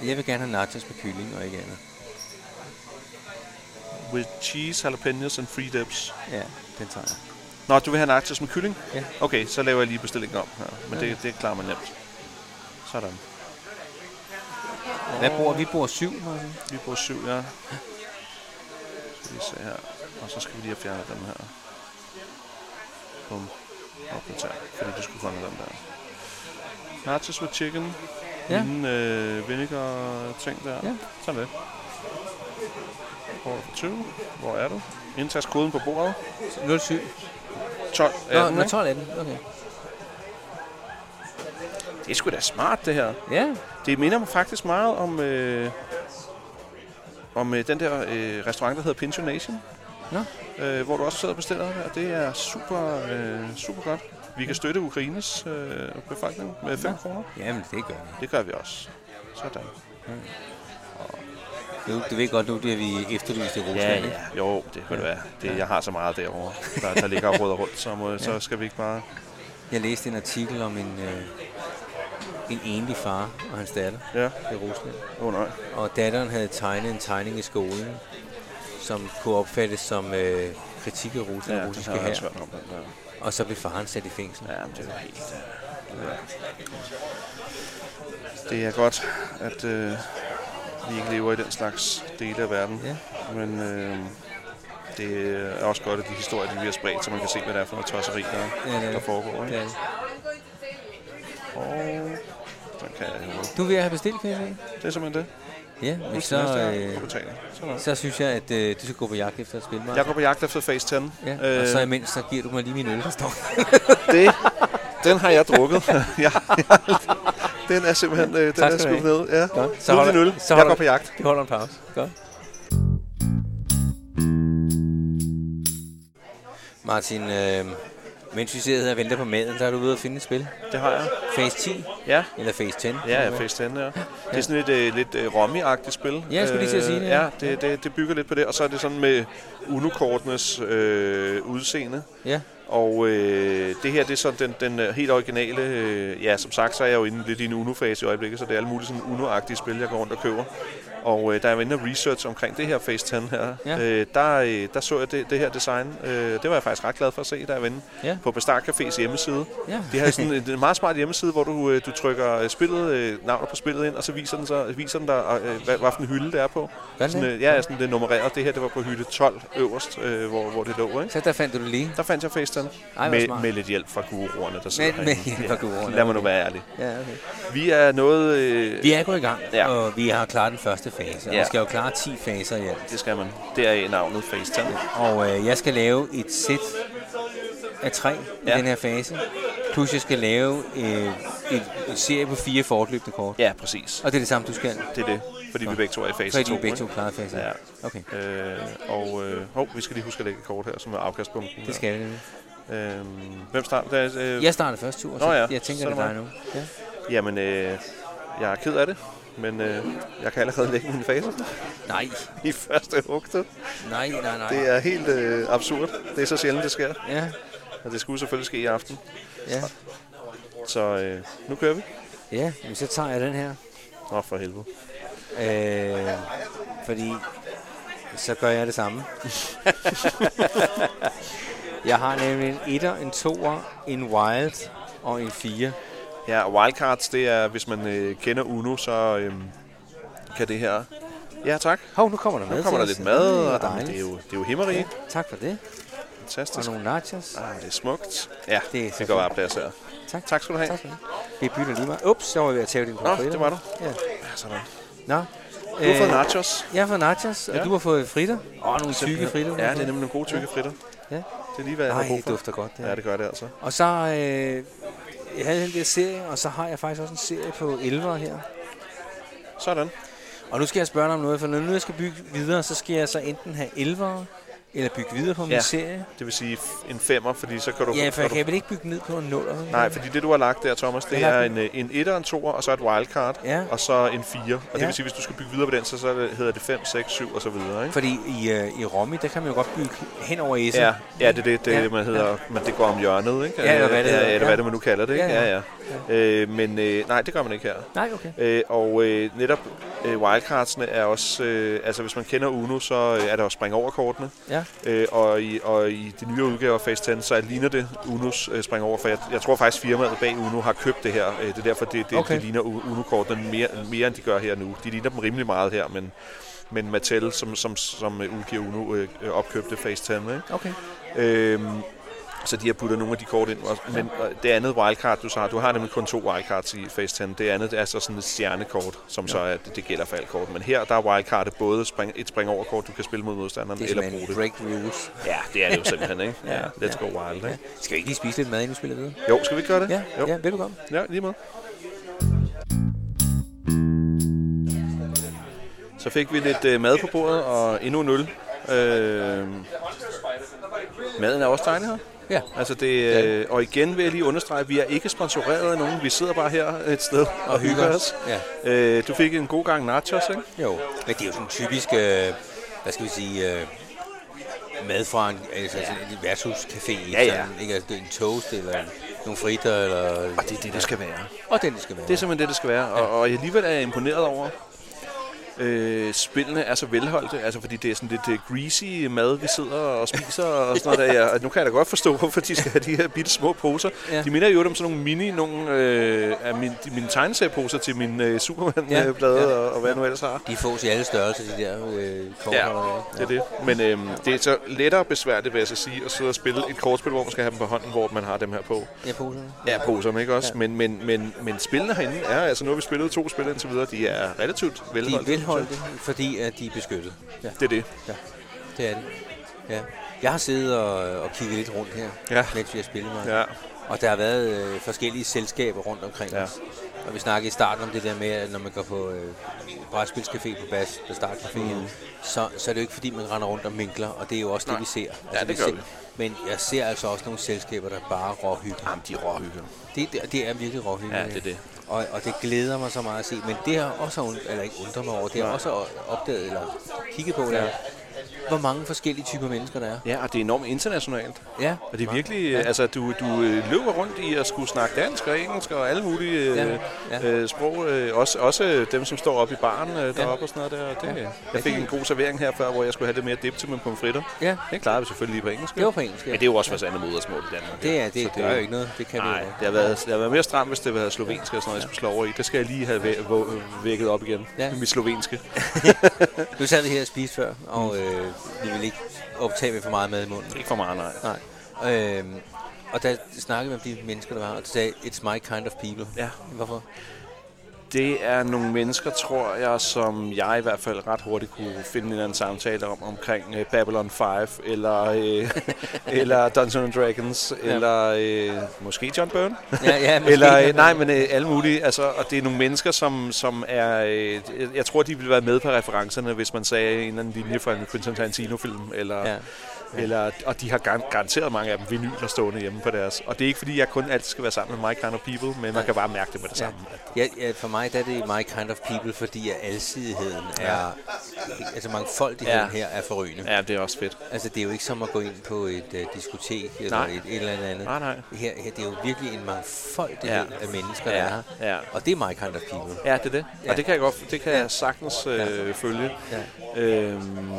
Speaker 1: Jeg vil gerne have nachos med kylling og ikke andet.
Speaker 2: With cheese, jalapenos and free dips.
Speaker 1: Ja, den tager jeg.
Speaker 2: Nå, du vil have nachos med kylling?
Speaker 1: Ja.
Speaker 2: Okay, så laver jeg lige bestillingen om her. Men det, det klarer man nemt. Sådan.
Speaker 1: Hvad bruger vi? bruger syv, Martin.
Speaker 2: Vi bruger syv, ja. Så vi se her. Og så skal vi lige have fjernet dem her. Bum. Op med tær, fordi du skulle fange dem der. Nachos with chicken.
Speaker 1: Ja.
Speaker 2: Ja. Inden øh, vinegar ting der.
Speaker 1: Ja.
Speaker 2: Sådan det. Hvor for 20. Hvor er du? Indtast koden på bordet.
Speaker 1: 07.
Speaker 2: 12.
Speaker 1: Nå,
Speaker 2: 18,
Speaker 1: nå,
Speaker 2: ikke?
Speaker 1: 12 18. Okay.
Speaker 2: Det er sgu da smart, det her.
Speaker 1: Ja.
Speaker 2: Det minder mig faktisk meget om, øh, om øh, den der øh, restaurant, der hedder Pincho Nation.
Speaker 1: Nå.
Speaker 2: Øh, hvor du også sidder og bestiller, og det er super, øh, super godt. Vi kan støtte Ukraines øh, befolkning med 5 kroner.
Speaker 1: Jamen, det gør vi.
Speaker 2: Det gør vi også. Sådan.
Speaker 1: Du, du ved godt nu, det er vi efterlyst i Rusland, ikke?
Speaker 2: Jo, det kan det være. Det, jeg har så meget derovre, der, der ligger og råder rundt, så, må, så skal vi ikke bare...
Speaker 1: Jeg læste en artikel om en, øh, en enlig far og hans datter
Speaker 2: Ja,
Speaker 1: i Rusland.
Speaker 2: åh oh, nej.
Speaker 1: Og datteren havde tegnet en tegning i skolen, som kunne opfattes som øh, kritik af Rusland ja,
Speaker 2: Ja,
Speaker 1: og
Speaker 2: det
Speaker 1: russiske
Speaker 2: har jeg
Speaker 1: her.
Speaker 2: svært om. den der.
Speaker 1: Og så blev faren sat i fængsel. Ja.
Speaker 2: Ja, men det var helt... øh, Det, var. det er godt, at øh, vi ikke lever i den slags dele af verden.
Speaker 1: Ja.
Speaker 2: Men øh, det er også godt, at de historier, de bliver spredt, så man kan se, hvad det er for noget tosseri, der,
Speaker 1: det er
Speaker 2: der
Speaker 1: det.
Speaker 2: foregår. Ikke?
Speaker 1: Ja.
Speaker 2: Og den kan jeg jo.
Speaker 1: Du vil have bestilt, kan jeg se?
Speaker 2: Det er simpelthen det.
Speaker 1: Ja, men
Speaker 2: Så,
Speaker 1: så,
Speaker 2: øh...
Speaker 1: øh,
Speaker 2: Sådan.
Speaker 1: så synes jeg, at øh, du skal gå på jagt efter et spil, Martin.
Speaker 2: Jeg går på jagt efter Phase 10.
Speaker 1: Ja, og så imens, så giver du mig lige min øl, der står.
Speaker 2: det, den har jeg drukket. ja, den er simpelthen øh, den
Speaker 1: Tak
Speaker 2: er
Speaker 1: skal du
Speaker 2: skudt ned. Ja.
Speaker 1: Godt.
Speaker 2: Så nu er det
Speaker 1: holder-
Speaker 2: en øl.
Speaker 1: så
Speaker 2: Jeg
Speaker 1: holder-
Speaker 2: går på jagt.
Speaker 1: Vi holder en pause. Godt. Martin, øh, mens vi sidder her og venter på maden, så er du ude at finde et spil.
Speaker 2: Det har jeg.
Speaker 1: Phase 10
Speaker 2: Ja.
Speaker 1: eller Phase 10?
Speaker 2: Ja, ja, Phase 10, ja. Det er sådan et øh, lidt øh, rommi-agtigt spil.
Speaker 1: Ja, jeg skulle lige til at sige
Speaker 2: Øh,
Speaker 1: det, ja.
Speaker 2: Ja, det, det, det bygger lidt på det. Og så er det sådan med unokortenes øh, udseende.
Speaker 1: Ja,
Speaker 2: Og øh, det her, det er sådan den, den øh, helt originale... Øh, ja, som sagt, så er jeg jo inde lidt i en Uno-fase i øjeblikket, så det er alle mulige sådan Uno-agtige spil, jeg går rundt og køber. Og øh, da jeg var inde og research omkring det her Phase 10 her,
Speaker 1: Ja.
Speaker 2: øh, der, øh, der så jeg det, det her design. Øh, det var jeg faktisk ret glad for at se, da jeg var inde
Speaker 1: Ja.
Speaker 2: på Bastard Cafés hjemmeside.
Speaker 1: ja.
Speaker 2: De har sådan en- en meget smart hjemmeside, hvor du, øh, du trykker øh, spillet, øh, navnet på spillet ind, og så viser den, så, viser den dig, øh, hvad, hvad for en hylde det er på.
Speaker 1: Gør den
Speaker 2: Sådan,
Speaker 1: det?
Speaker 2: øh, ja, sådan, det er nummereret. Det her det var på hylde 12 øverst, øh, hvor, hvor det lå. Ikke?
Speaker 1: Så der fandt du det lige.
Speaker 2: Der fandt jeg FaceTime
Speaker 1: Ej, hvor
Speaker 2: med,
Speaker 1: smart.
Speaker 2: med lidt hjælp fra guruerne, der sidder
Speaker 1: Med- med
Speaker 2: herinde.
Speaker 1: hjælp fra guruerne,
Speaker 2: Lad mig nu
Speaker 1: okay.
Speaker 2: være ærlig.
Speaker 1: Ja, okay.
Speaker 2: Vi er noget... Øh,
Speaker 1: Vi er gået i gang,
Speaker 2: Ja.
Speaker 1: ja. og vi har klaret den første fase. Og
Speaker 2: Ja.
Speaker 1: vi skal jo klare 10 faser i alt.
Speaker 2: Det skal man. Det er i navnet FaceTime.
Speaker 1: Og øh, jeg skal lave et sæt af tre i
Speaker 2: Ja.
Speaker 1: den her fase. Plus jeg skal lave øh, en, en serie på fire fortløbende kort.
Speaker 2: Ja, præcis.
Speaker 1: Og det er det samme, du skal.
Speaker 2: Det er det, fordi vi
Speaker 1: Nå.
Speaker 2: begge to er i fase
Speaker 1: Så er de
Speaker 2: 2.
Speaker 1: jo begge to klare faser.
Speaker 2: Ja.
Speaker 1: Okay,
Speaker 2: Øh, og øh, hov, vi skal lige huske at lægge et kort her, som er afkastbomben.
Speaker 1: det skal jeg.
Speaker 2: Øh, hvem starter? Der, er, øh,
Speaker 1: Jeg starter først tur, så
Speaker 2: Nå ja,
Speaker 1: jeg tænker,
Speaker 2: så er
Speaker 1: det
Speaker 2: det
Speaker 1: er dig nu. Ja.
Speaker 2: Jamen, øh, jeg er ked af det, men øh, jeg kan allerede lægge min fase
Speaker 1: Nej,
Speaker 2: i første hugte.
Speaker 1: nej, nej, nej.
Speaker 2: Det er helt øh, absurd. Det er så sjældent, det sker.
Speaker 1: Ja,
Speaker 2: Og det skulle selvfølgelig ske i aften.
Speaker 1: ja.
Speaker 2: Så øh, nu kører vi.
Speaker 1: Ja, men så tager jeg den her.
Speaker 2: Nå, for helvede.
Speaker 1: Øh, fordi så gør jeg det samme. jeg har nemlig en etter, en toer, en wild og en fire.
Speaker 2: Ja, og wildcards, det er, hvis man øh, kender Uno, så øh, kan det her... Ja, tak.
Speaker 1: Hov, nu kommer der mad
Speaker 2: Nu kommer der
Speaker 1: til
Speaker 2: lidt
Speaker 1: os.
Speaker 2: mad,
Speaker 1: Ej,
Speaker 2: og
Speaker 1: hvor
Speaker 2: jamen, det er
Speaker 1: dejligt.
Speaker 2: jo, det er jo himmerige.
Speaker 1: Tak for det. Og
Speaker 2: Fantastisk.
Speaker 1: nogle nachos.
Speaker 2: Ah, det er smukt. Ja,
Speaker 1: Det er
Speaker 2: det,
Speaker 1: så
Speaker 2: det går bare plads her.
Speaker 1: Tak.
Speaker 2: Tak skal du have.
Speaker 1: Tak for det. Vi bytter lige meget. Ups, så var jeg ved at tage din pomfritter.
Speaker 2: det var du.
Speaker 1: Ja.
Speaker 2: Ja, sådan.
Speaker 1: Nå. Øh,
Speaker 2: Du har fået nachos.
Speaker 1: Jeg har fået nachos, og
Speaker 2: Ja.
Speaker 1: ja. du har fået fritter. Og nogle tykke fritter. du har
Speaker 2: Ja, det er
Speaker 1: fået.
Speaker 2: nemlig nogle gode tykke fritter.
Speaker 1: Ja.
Speaker 2: Det er lige, hvad jeg har
Speaker 1: Nej,
Speaker 2: brug
Speaker 1: det
Speaker 2: for.
Speaker 1: dufter godt. Det her.
Speaker 2: Ja, det gør det altså.
Speaker 1: Og så øh, jeg havde den der serie, og så har jeg faktisk også en serie på 11'er her.
Speaker 2: Sådan.
Speaker 1: Og nu skal jeg spørge dig om noget, for når nu jeg skal bygge videre, så skal jeg så enten have 11'er, eller bygge videre på min
Speaker 2: Ja.
Speaker 1: serie.
Speaker 2: Det vil sige f- en femmer, fordi så kan du...
Speaker 1: Ja,
Speaker 2: kan
Speaker 1: for jeg
Speaker 2: du
Speaker 1: kan vel ikke bygge ned på en 0'er?
Speaker 2: Nej, fordi det, du har lagt der, Thomas, det
Speaker 1: Jeg har
Speaker 2: er en, øh, en etter, en toer, og så et wildcard,
Speaker 1: Ja.
Speaker 2: og så en fire. Og det
Speaker 1: Ja.
Speaker 2: vil sige, hvis du skal bygge videre på den, så, så er det- hedder det 5, 6, 7 og så videre, ikke?
Speaker 1: Fordi i, øh, i Romme, der kan man jo godt bygge hen over Essen.
Speaker 2: Ja, ja, det er det, det
Speaker 1: Ja.
Speaker 2: ja. man hedder, men det går om hjørnet, ikke?
Speaker 1: Ja, eller hvad det
Speaker 2: ja,
Speaker 1: hedder.
Speaker 2: eller hvad
Speaker 1: Ja.
Speaker 2: det man nu kalder det, ikke?
Speaker 1: Ja,
Speaker 2: Ja,
Speaker 1: ja.
Speaker 2: ja. ja. Øh, men øh, nej, det gør man ikke her.
Speaker 1: Nej, okay.
Speaker 2: Øh, og øh, netop øh, wildcardsene er også, øh, altså hvis man kender Uno, så øh, er der jo spring over kortene.
Speaker 1: Ja.
Speaker 2: Øh, og, i, og i de nye udgaver af Phase 10, så ligner det Unos øh, spring over, for jeg, jeg tror faktisk firmaet bag Uno har købt det her. Øh, det er derfor, det,
Speaker 1: Okay.
Speaker 2: det, okay. det ligner U- Uno-kortene mere, mere end de gør her nu. De ligner dem rimelig meget her, men, men Mattel, som, som, som øh, udgiver Uno, øh, øh, opkøbte Phase 10. Ikke?
Speaker 1: Okay.
Speaker 2: Øhm, så de har puttet nogle af de kort ind. og- Men og det andet wildcard, du så har, du har nemlig kun to wildcards i Phase 10. Det andet det er så sådan et stjernekort, som ja. så er, det, det gælder for alt kort. Men her, der er wildcardet både spring, et spring over kort, du kan spille mod modstanderen,
Speaker 1: Det er
Speaker 2: eller
Speaker 1: simpelthen
Speaker 2: bruge det.
Speaker 1: break rules.
Speaker 2: Ja, det er det jo simpelthen, ikke?
Speaker 1: Ja,
Speaker 2: ja, let's go wild, ikke?
Speaker 1: Skal vi ikke lige spise lidt mad, inden vi spiller videre?
Speaker 2: Jo, skal vi ikke gøre det?
Speaker 1: Ja,
Speaker 2: jo.
Speaker 1: ja velkommen.
Speaker 2: ja lige måde. Så fik vi lidt øh, mad på bordet og endnu en øl. Øh, maden er også dejlig her.
Speaker 1: Ja.
Speaker 2: Altså det, øh, og igen vil jeg lige understrege, at vi er ikke sponsoreret af nogen. Vi sidder bare her et sted og, og hygger os.
Speaker 1: Ja.
Speaker 2: Øh, du fik en god gang nachos, ikke?
Speaker 1: Jo, men det er jo sådan typisk, øh, hvad skal vi sige, øh, mad fra en, altså, altså en værtshuscafé.
Speaker 2: Ja, ja.
Speaker 1: Sådan, ikke? Altså, det er en toast eller en, nogle fritter. Eller,
Speaker 2: Og det er det, det skal være.
Speaker 1: og den, det skal være.
Speaker 2: Det er simpelthen det, det skal være. Og, og alligevel er jeg imponeret over, øh, spillene er så velholdte. Altså fordi det er sådan lidt øh, greasy mad, vi sidder og spiser og sådan noget. Der. Ja, og nu kan jeg da godt forstå, hvorfor de skal have de her bitte små poser.
Speaker 1: Ja.
Speaker 2: Ja. De minder jo om sådan nogle mini, nogle øh, af min, de, mine tegneserieposer til min øh,
Speaker 1: Ja.
Speaker 2: Superman-blade
Speaker 1: Ja.
Speaker 2: ja. og, og hvad jeg nu ellers har.
Speaker 1: De fås i alle størrelser, de der øh, kort.
Speaker 2: Ja, det er det. Men øhm, det er så lettere besværligt, vil jeg så sige, at sidde og spille et kortspil, hvor man skal have dem på hånden, hvor man har dem her på.
Speaker 1: Ja, poserne.
Speaker 2: Ja, poserne, ikke også?
Speaker 1: Ja.
Speaker 2: Ja. Men, men, men, men spillene herinde er, altså nu har vi spillet to spil indtil videre, de er relativt
Speaker 1: De er
Speaker 2: velholdte.
Speaker 1: velholdte, fordi at de er beskyttet. Ja,
Speaker 2: Det er det.
Speaker 1: det er det. Ja. Jeg har siddet og, og kigget lidt rundt her,
Speaker 2: Ja.
Speaker 1: mens vi har spillet mig.
Speaker 2: Ja,
Speaker 1: Og der har været øh, forskellige selskaber rundt omkring ja.
Speaker 2: Ja.
Speaker 1: os. Og vi snakkede i starten om det der med, at når man går på øh, brætspilscafé på Bas, på Startcaféen,
Speaker 2: Mhm.
Speaker 1: mm. så, så er det jo ikke fordi, man render rundt og minkler, og det er jo også Nej. det, vi ser. Altså,
Speaker 2: det gør
Speaker 1: ser,
Speaker 2: vi.
Speaker 1: Men jeg ser altså også nogle selskaber, der bare råhygger.
Speaker 2: Jamen, de er råhygger.
Speaker 1: Det, det, det er virkelig råhygge.
Speaker 2: Ja, det er det.
Speaker 1: Og, og det glæder mig så meget at se. Men det har også und, eller ikke undret mig over, det har også opdaget eller kigget på, der, hvor mange forskellige typer mennesker der er.
Speaker 2: Ja, og det er enormt internationalt.
Speaker 1: Ja,
Speaker 2: Og det er
Speaker 1: mange.
Speaker 2: virkelig, ja. altså du, du øh, løber rundt i at skulle snakke dansk og engelsk og alle mulige øh,
Speaker 1: Ja,
Speaker 2: ja.
Speaker 1: ja.
Speaker 2: Ja. Øh, sprog. Øh, også, også dem, som står oppe i baren øh, deroppe og sådan noget der. Og det,
Speaker 1: Ja.
Speaker 2: ja. Jeg fik
Speaker 1: Ja, de-
Speaker 2: en god servering her før, hvor jeg skulle have lidt mere dip til mine pomfritter.
Speaker 1: Ja,
Speaker 2: Den klarede vi selvfølgelig lige på engelsk.
Speaker 1: det var på engelsk. Ja.
Speaker 2: Men det er jo også vores andet modersmål i Danmark.
Speaker 1: det,
Speaker 2: jo.
Speaker 1: er, det,
Speaker 2: Så
Speaker 1: det gør jo ikke noget. Det kan vi
Speaker 2: Nej,
Speaker 1: jo
Speaker 2: det
Speaker 1: ikke.
Speaker 2: har, været, det har været mere stramt, hvis det havde været slovensk og sådan noget, jeg skulle slå over i. Det skal jeg lige have væ- vå- vækket op igen.
Speaker 1: Ja.
Speaker 2: Ja. Mit slovenske.
Speaker 1: Nu sad vi her og spiste før, og øh, vi ville ikke optage med for meget mad i munden.
Speaker 2: Ikke for meget, nej.
Speaker 1: Nej. Øhm, og der snakkede vi om de mennesker, der var, og de sagde, it's my kind of people.
Speaker 2: Ja.
Speaker 1: Hvorfor?
Speaker 2: Det er nogle mennesker, tror jeg, som jeg i hvert fald ret hurtigt kunne finde en eller anden samtale om, omkring øh, Babylon 5, eller, øh, eller Dungeons and Dragons,
Speaker 1: Ja.
Speaker 2: ja. eller øh, måske John Byrne.
Speaker 1: Ja, ja, måske.
Speaker 2: Eller, øh, nej, men øh, alle mulige. Altså, og det er nogle mennesker, som, som er... Øh, jeg- jeg tror, de ville være med på referencerne, hvis man sagde en eller anden linje fra en Quentin Tarantino-film. Eller, ja.
Speaker 1: Ja.
Speaker 2: eller, og de har gar- garanteret mange af dem vinyler stående hjemme på deres. Og det er ikke, fordi jeg kun altid skal være sammen med My Kind of People, men man kan bare mærke det med det
Speaker 1: Ja.
Speaker 2: samme. at-
Speaker 1: Ja, ja, for mig der er det my kind of people, fordi at alsidigheden er... Altså mangfoldigheden
Speaker 2: Ja.
Speaker 1: her er forrygende.
Speaker 2: Ja, det er også fedt.
Speaker 1: Altså, det er jo ikke som at gå ind på et øh, diskotek eller
Speaker 2: Nej.
Speaker 1: et, et eller andet andet.
Speaker 2: Nej, nej.
Speaker 1: Her, her, det er jo virkelig en mangfoldighed ja.
Speaker 2: Ja.
Speaker 1: af mennesker, der er her.
Speaker 2: ja.
Speaker 1: Og det er my kind of people.
Speaker 2: Ja, det er det.
Speaker 1: Ja.
Speaker 2: Og det kan jeg, godt, det kan jeg sagtens øh, følge.
Speaker 1: Ja.
Speaker 2: Øhm,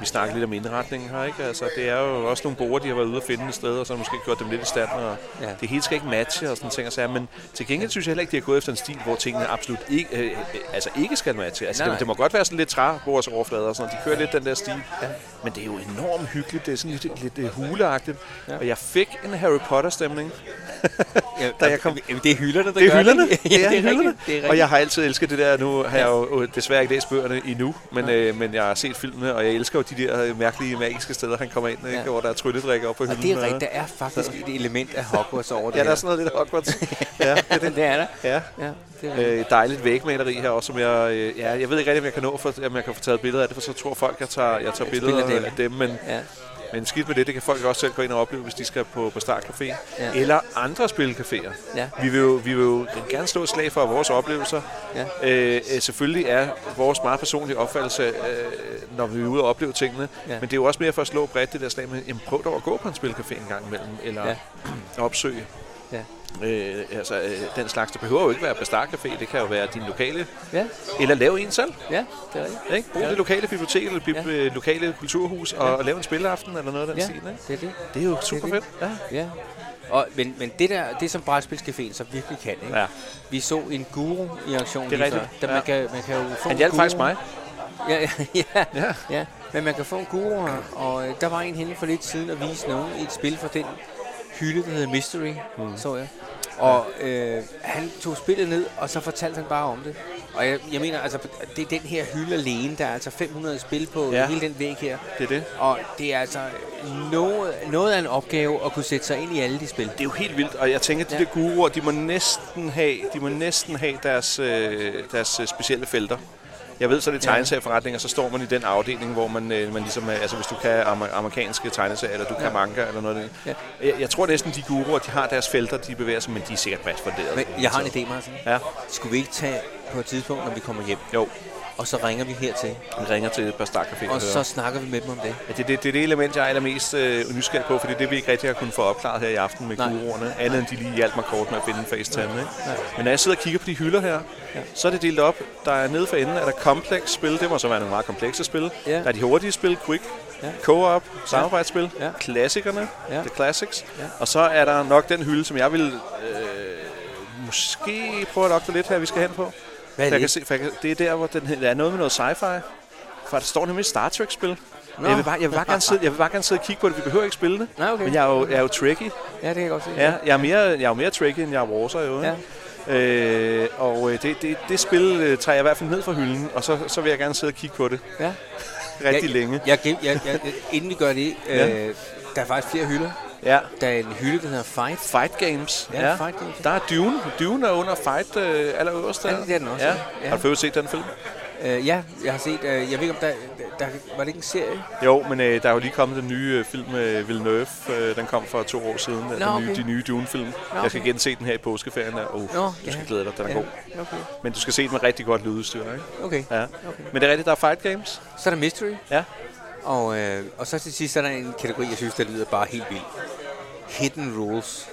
Speaker 2: vi snakker lidt om indretningen her, ikke? Altså, det er jo også nogle borer, de har været ude at finde et sted, og så har måske gjort dem lidt i stand, og
Speaker 1: Ja.
Speaker 2: ja. det hele skal ikke matche og sådan ting og sager. Men til gengæld synes jeg heller ikke, de har gået efter en stil, hvor tingene absolut ikke, øh, øh, altså ikke skal matche. Altså,
Speaker 1: Nej,
Speaker 2: det,
Speaker 1: nej.
Speaker 2: det, må godt være sådan lidt træbords overflader og sådan noget. De kører lidt den der stil. Ja. Men det er jo enormt hyggeligt. Det er sådan lidt, lidt øh, huleagtigt.
Speaker 1: Ja.
Speaker 2: Ja. Og jeg fik en Harry Potter-stemning.
Speaker 1: Ja,
Speaker 2: Da jeg kom-
Speaker 1: Jamen, det er hylderne, der
Speaker 2: det
Speaker 1: gør
Speaker 2: er hylderne.
Speaker 1: det. ja, det er
Speaker 2: hylderne.
Speaker 1: rigtigt. Det er rigtigt.
Speaker 2: og jeg har altid elsket det der. Nu har jeg jo øh, desværre ikke læst bøgerne endnu, men, øh, men jeg har set filmene, og jeg elsker jo de der øh, mærkelige, magiske steder, han kommer ind, ikke?
Speaker 1: Ja.
Speaker 2: hvor der er trylledrikker op på
Speaker 1: og
Speaker 2: hylden.
Speaker 1: det er rigtigt. Der er faktisk et element af Hogwarts over det
Speaker 2: Ja, der
Speaker 1: her.
Speaker 2: er sådan noget lidt Hogwarts. ja, det er det.
Speaker 1: det er der.
Speaker 2: Ja.
Speaker 1: Ja, det er rigtigt.
Speaker 2: Øh, dejligt vægmaleri her også, som jeg... Øh, ja, jeg ved ikke rigtig, om jeg kan nå, for, om jeg kan få taget billeder af det, for så tror folk, jeg tager, jeg tager
Speaker 1: spiller
Speaker 2: billeder
Speaker 1: dem.
Speaker 2: af dem, men,
Speaker 1: Ja.
Speaker 2: men skidt med det, det kan folk også selv gå ind og opleve, hvis de skal på, på Star Café.
Speaker 1: Ja.
Speaker 2: Ja. Eller andre spilcaféer.
Speaker 1: Ja.
Speaker 2: Vi, vil jo, vi vil jo gerne slå et slag for at vores oplevelser.
Speaker 1: Ja.
Speaker 2: Øh, øh, selvfølgelig er vores meget personlige opfattelse, øh, når vi er ude og opleve tingene,
Speaker 1: Ja.
Speaker 2: ja. men det er jo også mere for at slå bredt det der slag med, jamen, prøv dog at gå på en spilcafé en gang imellem, eller
Speaker 1: Ja.
Speaker 2: ja. opsøge.
Speaker 1: Ja.
Speaker 2: Øh, altså, øh, den slags, det behøver jo ikke være Bastar Café, det kan jo være din lokale,
Speaker 1: ja,
Speaker 2: eller lav en selv.
Speaker 1: ja, det er rigtigt.
Speaker 2: Ikke? Brug
Speaker 1: Ja.
Speaker 2: det lokale bibliotek eller bib-
Speaker 1: Ja.
Speaker 2: øh, lokale kulturhus og, og lave en spilleaften eller noget af den
Speaker 1: Ja,
Speaker 2: stil. Ikke?
Speaker 1: det er det.
Speaker 2: Det er jo super
Speaker 1: det.
Speaker 2: fedt. Ja.
Speaker 1: Ja. Og, men, men det der, det som brætspilscaféen så virkelig kan, ikke?
Speaker 2: Ja.
Speaker 1: Vi så en guru i aktion
Speaker 2: Det er
Speaker 1: lige før.
Speaker 2: rigtigt.
Speaker 1: Der man,
Speaker 2: Ja.
Speaker 1: kan, man kan jo få
Speaker 2: Han
Speaker 1: en
Speaker 2: hjalp
Speaker 1: guru.
Speaker 2: faktisk mig.
Speaker 1: Ja, ja, ja,
Speaker 2: Ja.
Speaker 1: ja. Men man kan få en guru, og øh, der var en henne for lidt siden og vise nogen et spil fra den hylde, der hedder Mystery, mm. så jeg. Og øh, han tog spillet ned, og så fortalte han bare om det. Og jeg, jeg mener, altså, det er den her hylde alene, der er altså 500 spil på ja.
Speaker 2: Ja.
Speaker 1: hele den væg her.
Speaker 2: Det er det.
Speaker 1: Og det er altså noget, noget af en opgave at kunne sætte sig ind i alle de spil.
Speaker 2: Det er jo helt vildt, og jeg tænker, at de
Speaker 1: Ja.
Speaker 2: ja. der guruer, de må næsten have, de må næsten have deres, øh, deres øh, specielle felter. Jeg ved så, det er tegneserieforretninger, så står man i den afdeling, hvor man, øh, man ligesom, er- altså hvis du kan amer- amerikanske tegneserier, eller du kan manga, eller noget af det.
Speaker 1: Ja.
Speaker 2: Jeg, jeg tror næsten, de guruer, de har deres felter, de bevæger sig, men de er sikkert fastfunderet.
Speaker 1: Men jeg har en idé, Martin.
Speaker 2: Ja,
Speaker 1: Skulle vi ikke tage på et tidspunkt, når vi kommer hjem,
Speaker 2: jo.
Speaker 1: og så ringer vi hertil,
Speaker 2: Vi ringer til et par stakkerfælder.
Speaker 1: og så snakker vi med dem om det?
Speaker 2: Ja, Altså, det, det, det er det element, jeg er allermest øh, nysgerrig på, for det er det, vi ikke rigtig har kunnet få opklaret her i aften med
Speaker 1: Nej.
Speaker 2: guruerne. Andet end de lige hjalp mig kort med at finde en FaceTime. Ikke? Men når jeg sidder og kigger på de hylder her, så er det delt op. Der er nede for enden, er der kompleks spil. Det må så være nogle meget komplekse spil.
Speaker 1: Ja.
Speaker 2: Der er de hurtige spil, quick,
Speaker 1: Ja.
Speaker 2: co-op, samarbejdsspil,
Speaker 1: Ja.
Speaker 2: klassikerne,
Speaker 1: Ja.
Speaker 2: the classics.
Speaker 1: Ja.
Speaker 2: Og så er der nok den hylde, som jeg vil øh, måske prøve at logge lidt her, vi skal hen på.
Speaker 1: Hvad er
Speaker 2: For
Speaker 1: det?
Speaker 2: jeg kan se, for jeg kan, det er der, hvor den, der er noget med noget sci-fi. For der står nemlig et Star Trek-spil.
Speaker 1: Nå.
Speaker 2: Jeg vil, bare, jeg, vil bare gerne sidde, jeg vil bare gerne sidde og kigge på det. Vi behøver ikke spille det.
Speaker 1: Nej, okay.
Speaker 2: Men jeg er jo, jeg er jo tricky.
Speaker 1: Ja, det kan jeg godt se.
Speaker 2: Ja, jeg, er mere, jeg er jo mere tricky, end jeg er warser jo. ikke? Øh, og øh, det, det, det spil øh, tager jeg i hvert fald ned fra hylden, og så, så vil jeg gerne sidde og kigge på det
Speaker 1: ja.
Speaker 2: rigtig
Speaker 1: jeg,
Speaker 2: længe.
Speaker 1: Jeg, jeg, jeg, jeg, jeg, inden vi gør det, øh,
Speaker 2: Ja.
Speaker 1: der er faktisk flere hylder.
Speaker 2: Ja.
Speaker 1: Der er en hylde, der hedder Fight.
Speaker 2: Fight Games.
Speaker 1: Ja, Fight Games.
Speaker 2: Der er Dune. Dune er under Fight øh, allerøverst der.
Speaker 1: Ja, det er den også,
Speaker 2: Ja.
Speaker 1: ja. Ja.
Speaker 2: Ja. Har du før set den film?
Speaker 1: Øh, ja, jeg har set, øh, jeg ved ikke om der, der, der, var det ikke en serie?
Speaker 2: Jo, men øh, der er jo lige kommet den nye øh, film med Villeneuve. Øh, den kom for to år siden, Nå, den
Speaker 1: Nå,
Speaker 2: nye,
Speaker 1: okay.
Speaker 2: de nye Dune-film. Nå,
Speaker 1: okay.
Speaker 2: Jeg skal gense den her i påskeferien. Der. Oh,
Speaker 1: Nå,
Speaker 2: du skal
Speaker 1: ja.
Speaker 2: glæde dig, den er god.
Speaker 1: Ja, okay.
Speaker 2: Men du skal se den med rigtig godt lydudstyr, ikke?
Speaker 1: okay.
Speaker 2: Ja.
Speaker 1: Okay.
Speaker 2: Men det er rigtigt, der er Fight Games.
Speaker 1: Så er der Mystery,
Speaker 2: Ja.
Speaker 1: og, øh, og så til sidst er der en kategori, jeg synes, der lyder bare helt vildt. Hidden Rules.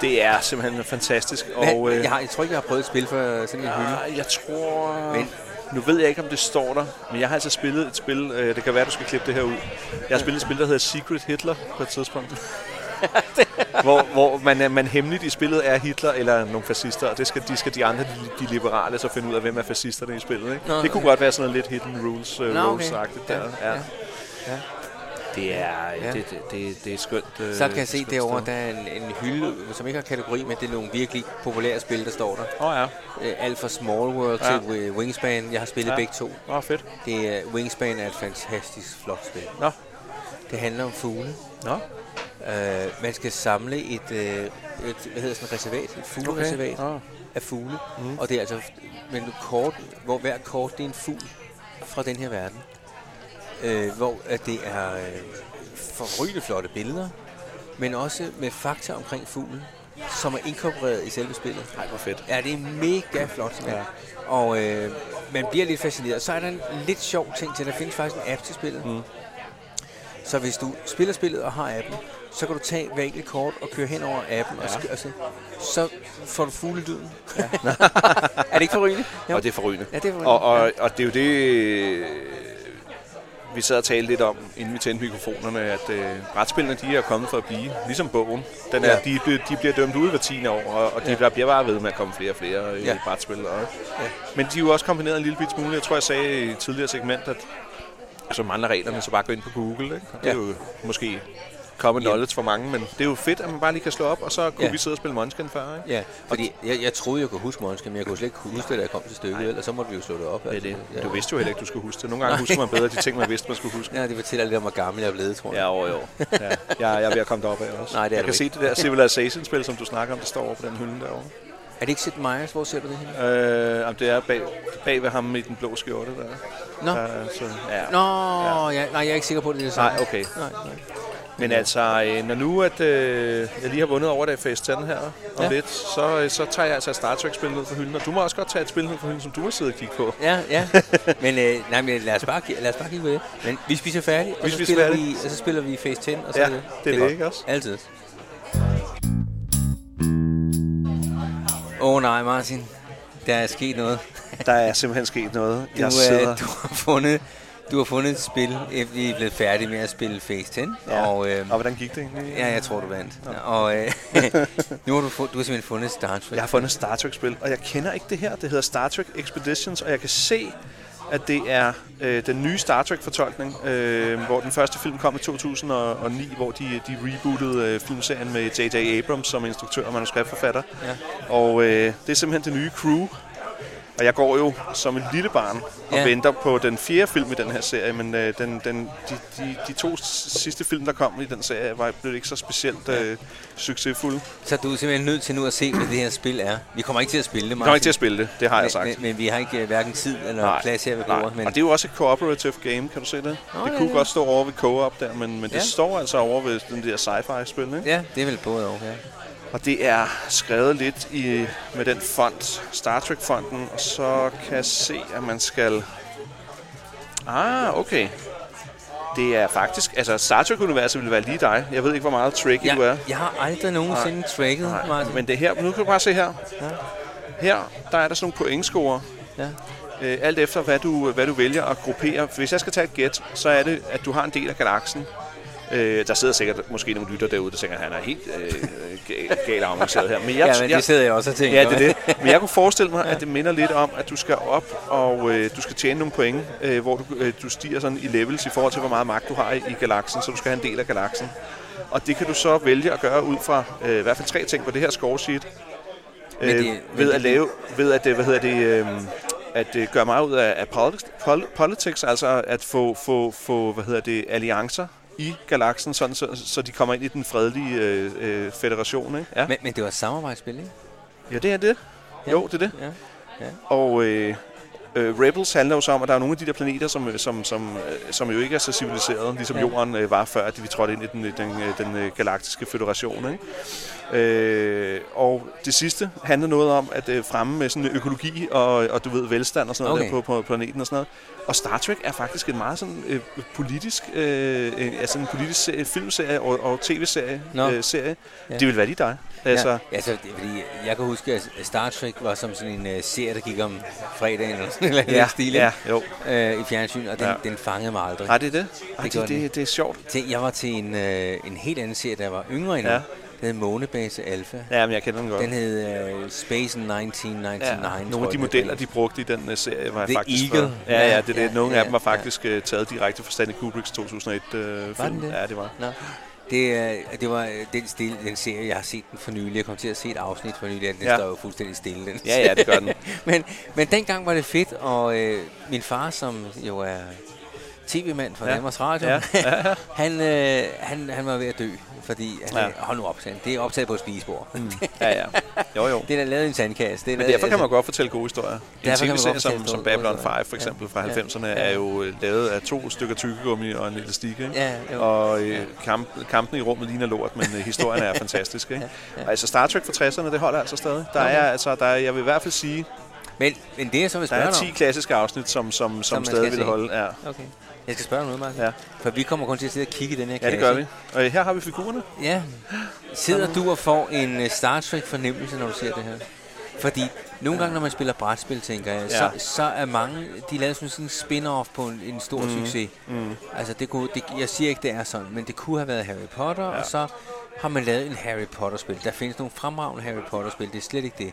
Speaker 2: Det er simpelthen fantastisk.
Speaker 1: Og,
Speaker 2: og, øh,
Speaker 1: jeg, har, jeg tror ikke, jeg har prøvet et spil for sådan en hylde.
Speaker 2: Ah, jeg tror...
Speaker 1: Men-
Speaker 2: Men. Nu ved jeg ikke, om det står der, men jeg har altså spillet et spil. Øh, det kan være, du skal klippe det her ud. Jeg har spillet et spil, der hedder Secret Hitler på et tidspunkt. hvor hvor man, er- man hemmeligt i spillet er Hitler eller nogle fascister, og det skal, de skal de andre, de, de liberale, så finde ud af, hvem er fascisterne i spillet. Ikke?
Speaker 1: Nå,
Speaker 2: det kunne
Speaker 1: okay.
Speaker 2: godt være sådan noget lidt hidden rules, øh,
Speaker 1: Nå, okay.
Speaker 2: rules-agtigt. Der.
Speaker 1: Ja, ja.
Speaker 2: Ja, ja.
Speaker 1: Det er...
Speaker 2: Ja.
Speaker 1: Ja. Det,
Speaker 2: Det, det, det, det er et skønt. øh,
Speaker 1: så kan jeg
Speaker 2: et
Speaker 1: se
Speaker 2: skønt
Speaker 1: derovre,
Speaker 2: sted.
Speaker 1: der er en, en hylde, som ikke har kategori, men det er nogle virkelig populære spil, der står der.
Speaker 2: Åh oh, ja.
Speaker 1: Øh, Alt fra Small World
Speaker 2: Ja.
Speaker 1: ja. til øh, Wingspan. Jeg har spillet
Speaker 2: Ja.
Speaker 1: ja. begge to.
Speaker 2: Åh, oh, fedt.
Speaker 1: Det er, Wingspan er et fantastisk flot spil.
Speaker 2: Nå.
Speaker 1: Det handler om fugle.
Speaker 2: Nå.
Speaker 1: Øh, man skal samle et, øh, et hvad hedder sådan, reservat, et fuglereservat okay.
Speaker 2: Nå.
Speaker 1: af fugle. Mm. Og det er altså men kort, hvor hver kort det er en fugl fra den her verden. Øh, hvor at det er øh, forrygende flotte billeder, men også med fakta omkring fuglen, som er inkorporeret i selve spillet.
Speaker 2: Ej, hvor fedt.
Speaker 1: Ja, det er mega flot. Ja. Og øh, man bliver lidt fascineret. Så er der en lidt sjov ting til, der findes faktisk en app til spillet. Mm. Så hvis du spiller spillet og har appen, så kan du tage hver enkelt kort og køre hen over appen, ja. og, sk- og så, så får du fuglelyden. Ja. er det ikke forrygende?
Speaker 2: Og det er forrygende.
Speaker 1: Ja, det er forrygende.
Speaker 2: Og, og, og det er jo det, øh, vi sad og talte lidt om, inden vi tændte mikrofonerne, at øh, brætspillene de er kommet for at blive, ligesom bogen. Den er,
Speaker 1: Ja.
Speaker 2: de, bliver- de bliver dømt ud hver 10 år, og, og de
Speaker 1: Ja.
Speaker 2: der bliver bare ved med at komme flere og flere øh, ja.
Speaker 1: Ja.
Speaker 2: brætspil. Og, Men de er jo også kombineret en lille bit smule. Jeg tror, jeg sagde i et tidligere segment, at som andre reglerne, så bare gå ind på Google. Ikke? Og Det er
Speaker 1: Ja.
Speaker 2: jo måske common
Speaker 1: Ja.
Speaker 2: knowledge for mange, men det er jo fedt, at man bare lige kan slå op, og så kunne
Speaker 1: Ja.
Speaker 2: vi sidde og spille Munchkin før. Ikke?
Speaker 1: Ja, fordi jeg, jeg troede, jeg kunne huske Månske, men jeg kunne slet ikke huske det, da jeg kom til stykket, eller så måtte vi jo slå det op. altså.
Speaker 2: Det er det.
Speaker 1: Ja.
Speaker 2: Du vidste jo heller ikke, du skulle huske det. Nogle gange husker man bedre de ting, man vidste, man skulle huske.
Speaker 1: Ja, det fortæller lidt om, hvor gammel jeg er blevet, tror jeg.
Speaker 2: Ja, over i år. Ja. Jeg, jeg er ved at komme derop af også.
Speaker 1: Nej, det er
Speaker 2: jeg
Speaker 1: du
Speaker 2: kan se
Speaker 1: ikke.
Speaker 2: det der Civilization-spil, som du snakker om, der står over på den hylde derovre.
Speaker 1: Er det ikke Sid Meier's? Hvor ser du det henne?
Speaker 2: Øh, jamen, det er bag, bag ved ham i den blå skjorte der.
Speaker 1: Nå.
Speaker 2: Der er så, ja.
Speaker 1: Nå, ja. nej, jeg er ikke sikker på, at det er det samme.
Speaker 2: Nej, okay.
Speaker 1: Nej, nej.
Speaker 2: Men altså, øh, når nu at, øh, jeg lige har vundet over det Phase 10 her om ja.
Speaker 1: Ja.
Speaker 2: lidt, så, øh, så tager jeg altså et Star Trek-spil ned fra hylden. Og du må også godt tage et spil ned fra hylden, som du har siddet og kigget på.
Speaker 1: Ja, ja. Men, øh, nej, men lad, os bare, ki- lad os bare kigge på det. Men vi spiser færdigt, og,
Speaker 2: Vi
Speaker 1: så,
Speaker 2: spiser
Speaker 1: spiller
Speaker 2: færdigt.
Speaker 1: vi, og så spiller vi Phase 10, og så
Speaker 2: Ja,
Speaker 1: er det.
Speaker 2: det er det,
Speaker 1: godt.
Speaker 2: ikke også?
Speaker 1: Altid. Åh oh, nej, Martin. Der er sket noget.
Speaker 2: Der er simpelthen sket noget.
Speaker 1: Du, øh, du, har fundet, du har fundet et spil, efter I er blevet færdige med at spille Phase 10.
Speaker 2: Ja.
Speaker 1: Og, øh,
Speaker 2: og hvordan gik det egentlig?
Speaker 1: ja, jeg tror, du vandt. Og øh, nu har du, fund, du har simpelthen fundet Star Trek.
Speaker 2: Jeg har fundet et Star Trek-spil, og jeg kender ikke det her. Det hedder Star Trek Expeditions, og jeg kan se, at det er øh, den nye Star Trek-fortolkning, øh, hvor den første film kom i 2009, hvor de, de rebootede øh, filmserien med J.J. Abrams som instruktør og manuskriptforfatter.
Speaker 1: Ja.
Speaker 2: Og øh, det er simpelthen det nye crew. Og jeg går jo som et lille barn og
Speaker 1: Ja.
Speaker 2: venter på den fjerde film i den her serie, men øh, den, den, de, de, de to s- sidste film, der kom i den serie, var blev ikke så specielt øh, succesfulde.
Speaker 1: Så du er simpelthen nødt til nu at se, hvad det her spil er. Vi kommer ikke til at spille det,
Speaker 2: Jeg
Speaker 1: Martin.
Speaker 2: kommer ikke til at spille det, det har jeg
Speaker 1: Men-
Speaker 2: sagt.
Speaker 1: Men, men vi har ikke øh, hverken tid eller
Speaker 2: Nej,
Speaker 1: plads her ved
Speaker 2: nej.
Speaker 1: bordet. Men,
Speaker 2: Og det er jo også et cooperative game, kan du se det?
Speaker 1: Nå,
Speaker 2: det
Speaker 1: ja,
Speaker 2: kunne
Speaker 1: ja.
Speaker 2: godt stå over ved co-op der, men, men det
Speaker 1: Ja.
Speaker 2: står altså over ved den der sci-fi spil, ikke?
Speaker 1: ja, det er vel både og. Ja.
Speaker 2: Og det er skrevet lidt i, med den font, Star Trek-fonden, og så kan jeg se, at man skal... Ah, okay. Det er faktisk... Altså, Star Trek-universet ville være lige dig. Jeg ved ikke, hvor meget tricky du er.
Speaker 1: Jeg, jeg har aldrig nogensinde tracket,
Speaker 2: Nej,
Speaker 1: Martin.
Speaker 2: men det her... Nu kan du bare se her.
Speaker 1: Ja.
Speaker 2: Her, der er der sådan nogle pointscorer,
Speaker 1: Ja.
Speaker 2: Øh, alt efter, hvad du, hvad du vælger at gruppere. Hvis jeg skal tage et gæt, så er det, at du har en del af galaksen. Øh, der sidder sikkert måske nogle lytter derude, der tænker, at han er helt øh, ga- gal og avanceret her. Men jeg,
Speaker 1: ja, men
Speaker 2: jeg,
Speaker 1: det sidder jeg også og tænker.
Speaker 2: ja, det er det. Men jeg kunne forestille mig, at det minder lidt om, at du skal op og øh, du skal tjene nogle point, øh, hvor du, øh, du stiger sådan i levels i forhold til, hvor meget magt du har i, i galaksen, så du skal have en del af galaksen. Og det kan du så vælge at gøre ud fra øh, i hvert fald tre ting på det her score sheet. Øh,
Speaker 1: Men det-
Speaker 2: det,
Speaker 1: men
Speaker 2: ved
Speaker 1: det-
Speaker 2: at lave, ved at, øh, hvad hedder det, øh, at øh, gøre meget ud af, af politics, pol, politics, altså at få, få, få, hvad hedder det, alliancer i galaksen, sådan så, så de kommer ind i den fredelige øh, øh, federation, ikke? Ja.
Speaker 1: Men, men det var et samarbejdsspil, ikke?
Speaker 2: ja, det er det.
Speaker 1: Ja.
Speaker 2: Jo, det er det.
Speaker 1: Ja.
Speaker 2: Og øh, øh, Rebels handler jo så om, at der er nogle af de der planeter, som, som, som, øh, som jo ikke er så civiliserede, ligesom ja.
Speaker 1: Ja.
Speaker 2: Jorden øh, var før, at vi trådte ind i den, øh, den, øh, den øh, galaktiske federation. Ikke? Øh, og det sidste handler noget om at øh, fremme med sådan økologi og, og du ved, velstand og sådan noget
Speaker 1: Okay.
Speaker 2: der på, på planeten og sådan noget. Og Star Trek er faktisk en meget sådan øh, politisk, øh, øh, altså en politisk serie, filmserie og, og tv-serie.
Speaker 1: Nå.
Speaker 2: Øh, serie.
Speaker 1: Ja.
Speaker 2: Det vil være lige dig. Altså,
Speaker 1: Ja, altså, det er fordi jeg kan huske, at Star Trek var som sådan en uh, serie, der gik om fredagen eller sådan noget ja, stil
Speaker 2: ja,
Speaker 1: ja.
Speaker 2: jo.
Speaker 1: Øh, i fjernsyn, og den,
Speaker 2: Ja.
Speaker 1: ja. den fangede mig aldrig.
Speaker 2: Nej, det er det. Ej,
Speaker 1: Det gør
Speaker 2: det, det,
Speaker 1: den
Speaker 2: det, det er sjovt.
Speaker 1: Til- Jeg var til en, øh, en helt anden serie, da jeg var yngre endnu.
Speaker 2: Ja.
Speaker 1: Ja. hed Månebase Alpha.
Speaker 2: Ja, men jeg kender den godt.
Speaker 1: Den hed uh, Space 1999.
Speaker 2: ja, nogle af de
Speaker 1: tror jeg,
Speaker 2: modeller,
Speaker 1: det
Speaker 2: de brugte i den uh, serie, var
Speaker 1: The
Speaker 2: faktisk...
Speaker 1: Eagle.
Speaker 2: Fra, ja, ja, det, er
Speaker 1: Ja,
Speaker 2: det. Nogle
Speaker 1: ja,
Speaker 2: af dem var
Speaker 1: ja.
Speaker 2: faktisk uh, taget direkte fra Stanley Kubricks 2001-film. Uh,
Speaker 1: Var den det?
Speaker 2: Ja, det var.
Speaker 1: Nå. Det, er- det var øh, den, stille, den serie, jeg har set den for nylig. Jeg kom til at se et afsnit for nylig, og den
Speaker 2: Ja.
Speaker 1: ja. står jo fuldstændig stille. Den
Speaker 2: Ja, ja, det gør den.
Speaker 1: men, men dengang var det fedt, og øh, min far, som jo er tv-mand fra
Speaker 2: Ja.
Speaker 1: ja. Danmarks Radio,
Speaker 2: Ja.
Speaker 1: ja. han, øh, han, han var ved at dø, fordi han,
Speaker 2: Ja.
Speaker 1: ja. hold nu op, sagde han, det er optaget på et spisebord. Mm.
Speaker 2: Ja, ja. Jo, jo.
Speaker 1: det er da lavet i en sandkasse. Det er
Speaker 2: Men
Speaker 1: da-
Speaker 2: derfor kan man godt fortælle gode historier. En
Speaker 1: kan man godt
Speaker 2: tv-serie som,
Speaker 1: fortælle
Speaker 2: som
Speaker 1: gode
Speaker 2: Babylon 5,
Speaker 1: historier.
Speaker 2: for eksempel fra
Speaker 1: Ja.
Speaker 2: 90'erne,
Speaker 1: Ja.
Speaker 2: er jo øh, lavet af to stykker tykkegummi og en lille stik, ikke?
Speaker 1: Ja, jo.
Speaker 2: Og øh, kamp, kampene i rummet ligner lort, men øh, historien er fantastisk, ikke? Altså Star Trek fra 60'erne, det holder altså stadig. Der er, altså, der er, jeg vil i hvert fald sige,
Speaker 1: Altså, Men, men det, jeg så vil
Speaker 2: der
Speaker 1: spørge
Speaker 2: er
Speaker 1: dig
Speaker 2: 10 klassiske afsnit, som, som, som,
Speaker 1: Som man
Speaker 2: stadig
Speaker 1: skal
Speaker 2: vil
Speaker 1: se.
Speaker 2: holde. Ja.
Speaker 1: om... Okay. Jeg skal spørge dig om noget, Martin.
Speaker 2: Ja.
Speaker 1: For vi kommer kun til at sidde og kigge i den her
Speaker 2: ja,
Speaker 1: kasse.
Speaker 2: det gør vi. Og her har vi figurerne.
Speaker 1: Ja. Sidder du og får en øh, Star Trek-fornemmelse, når du ser det her? Fordi nogle gange, når man spiller brætspil, tænker jeg, så,
Speaker 2: Ja.
Speaker 1: så er mange, de lavet sådan en spin-off på en, en stor mm. succes. Mm. Altså, det kunne, det, jeg siger ikke, det er sådan, men det kunne have været Harry Potter, ja. og så har man lavet en Harry Potter-spil. Der findes nogle fremragende Harry Potter-spil, det er slet ikke det.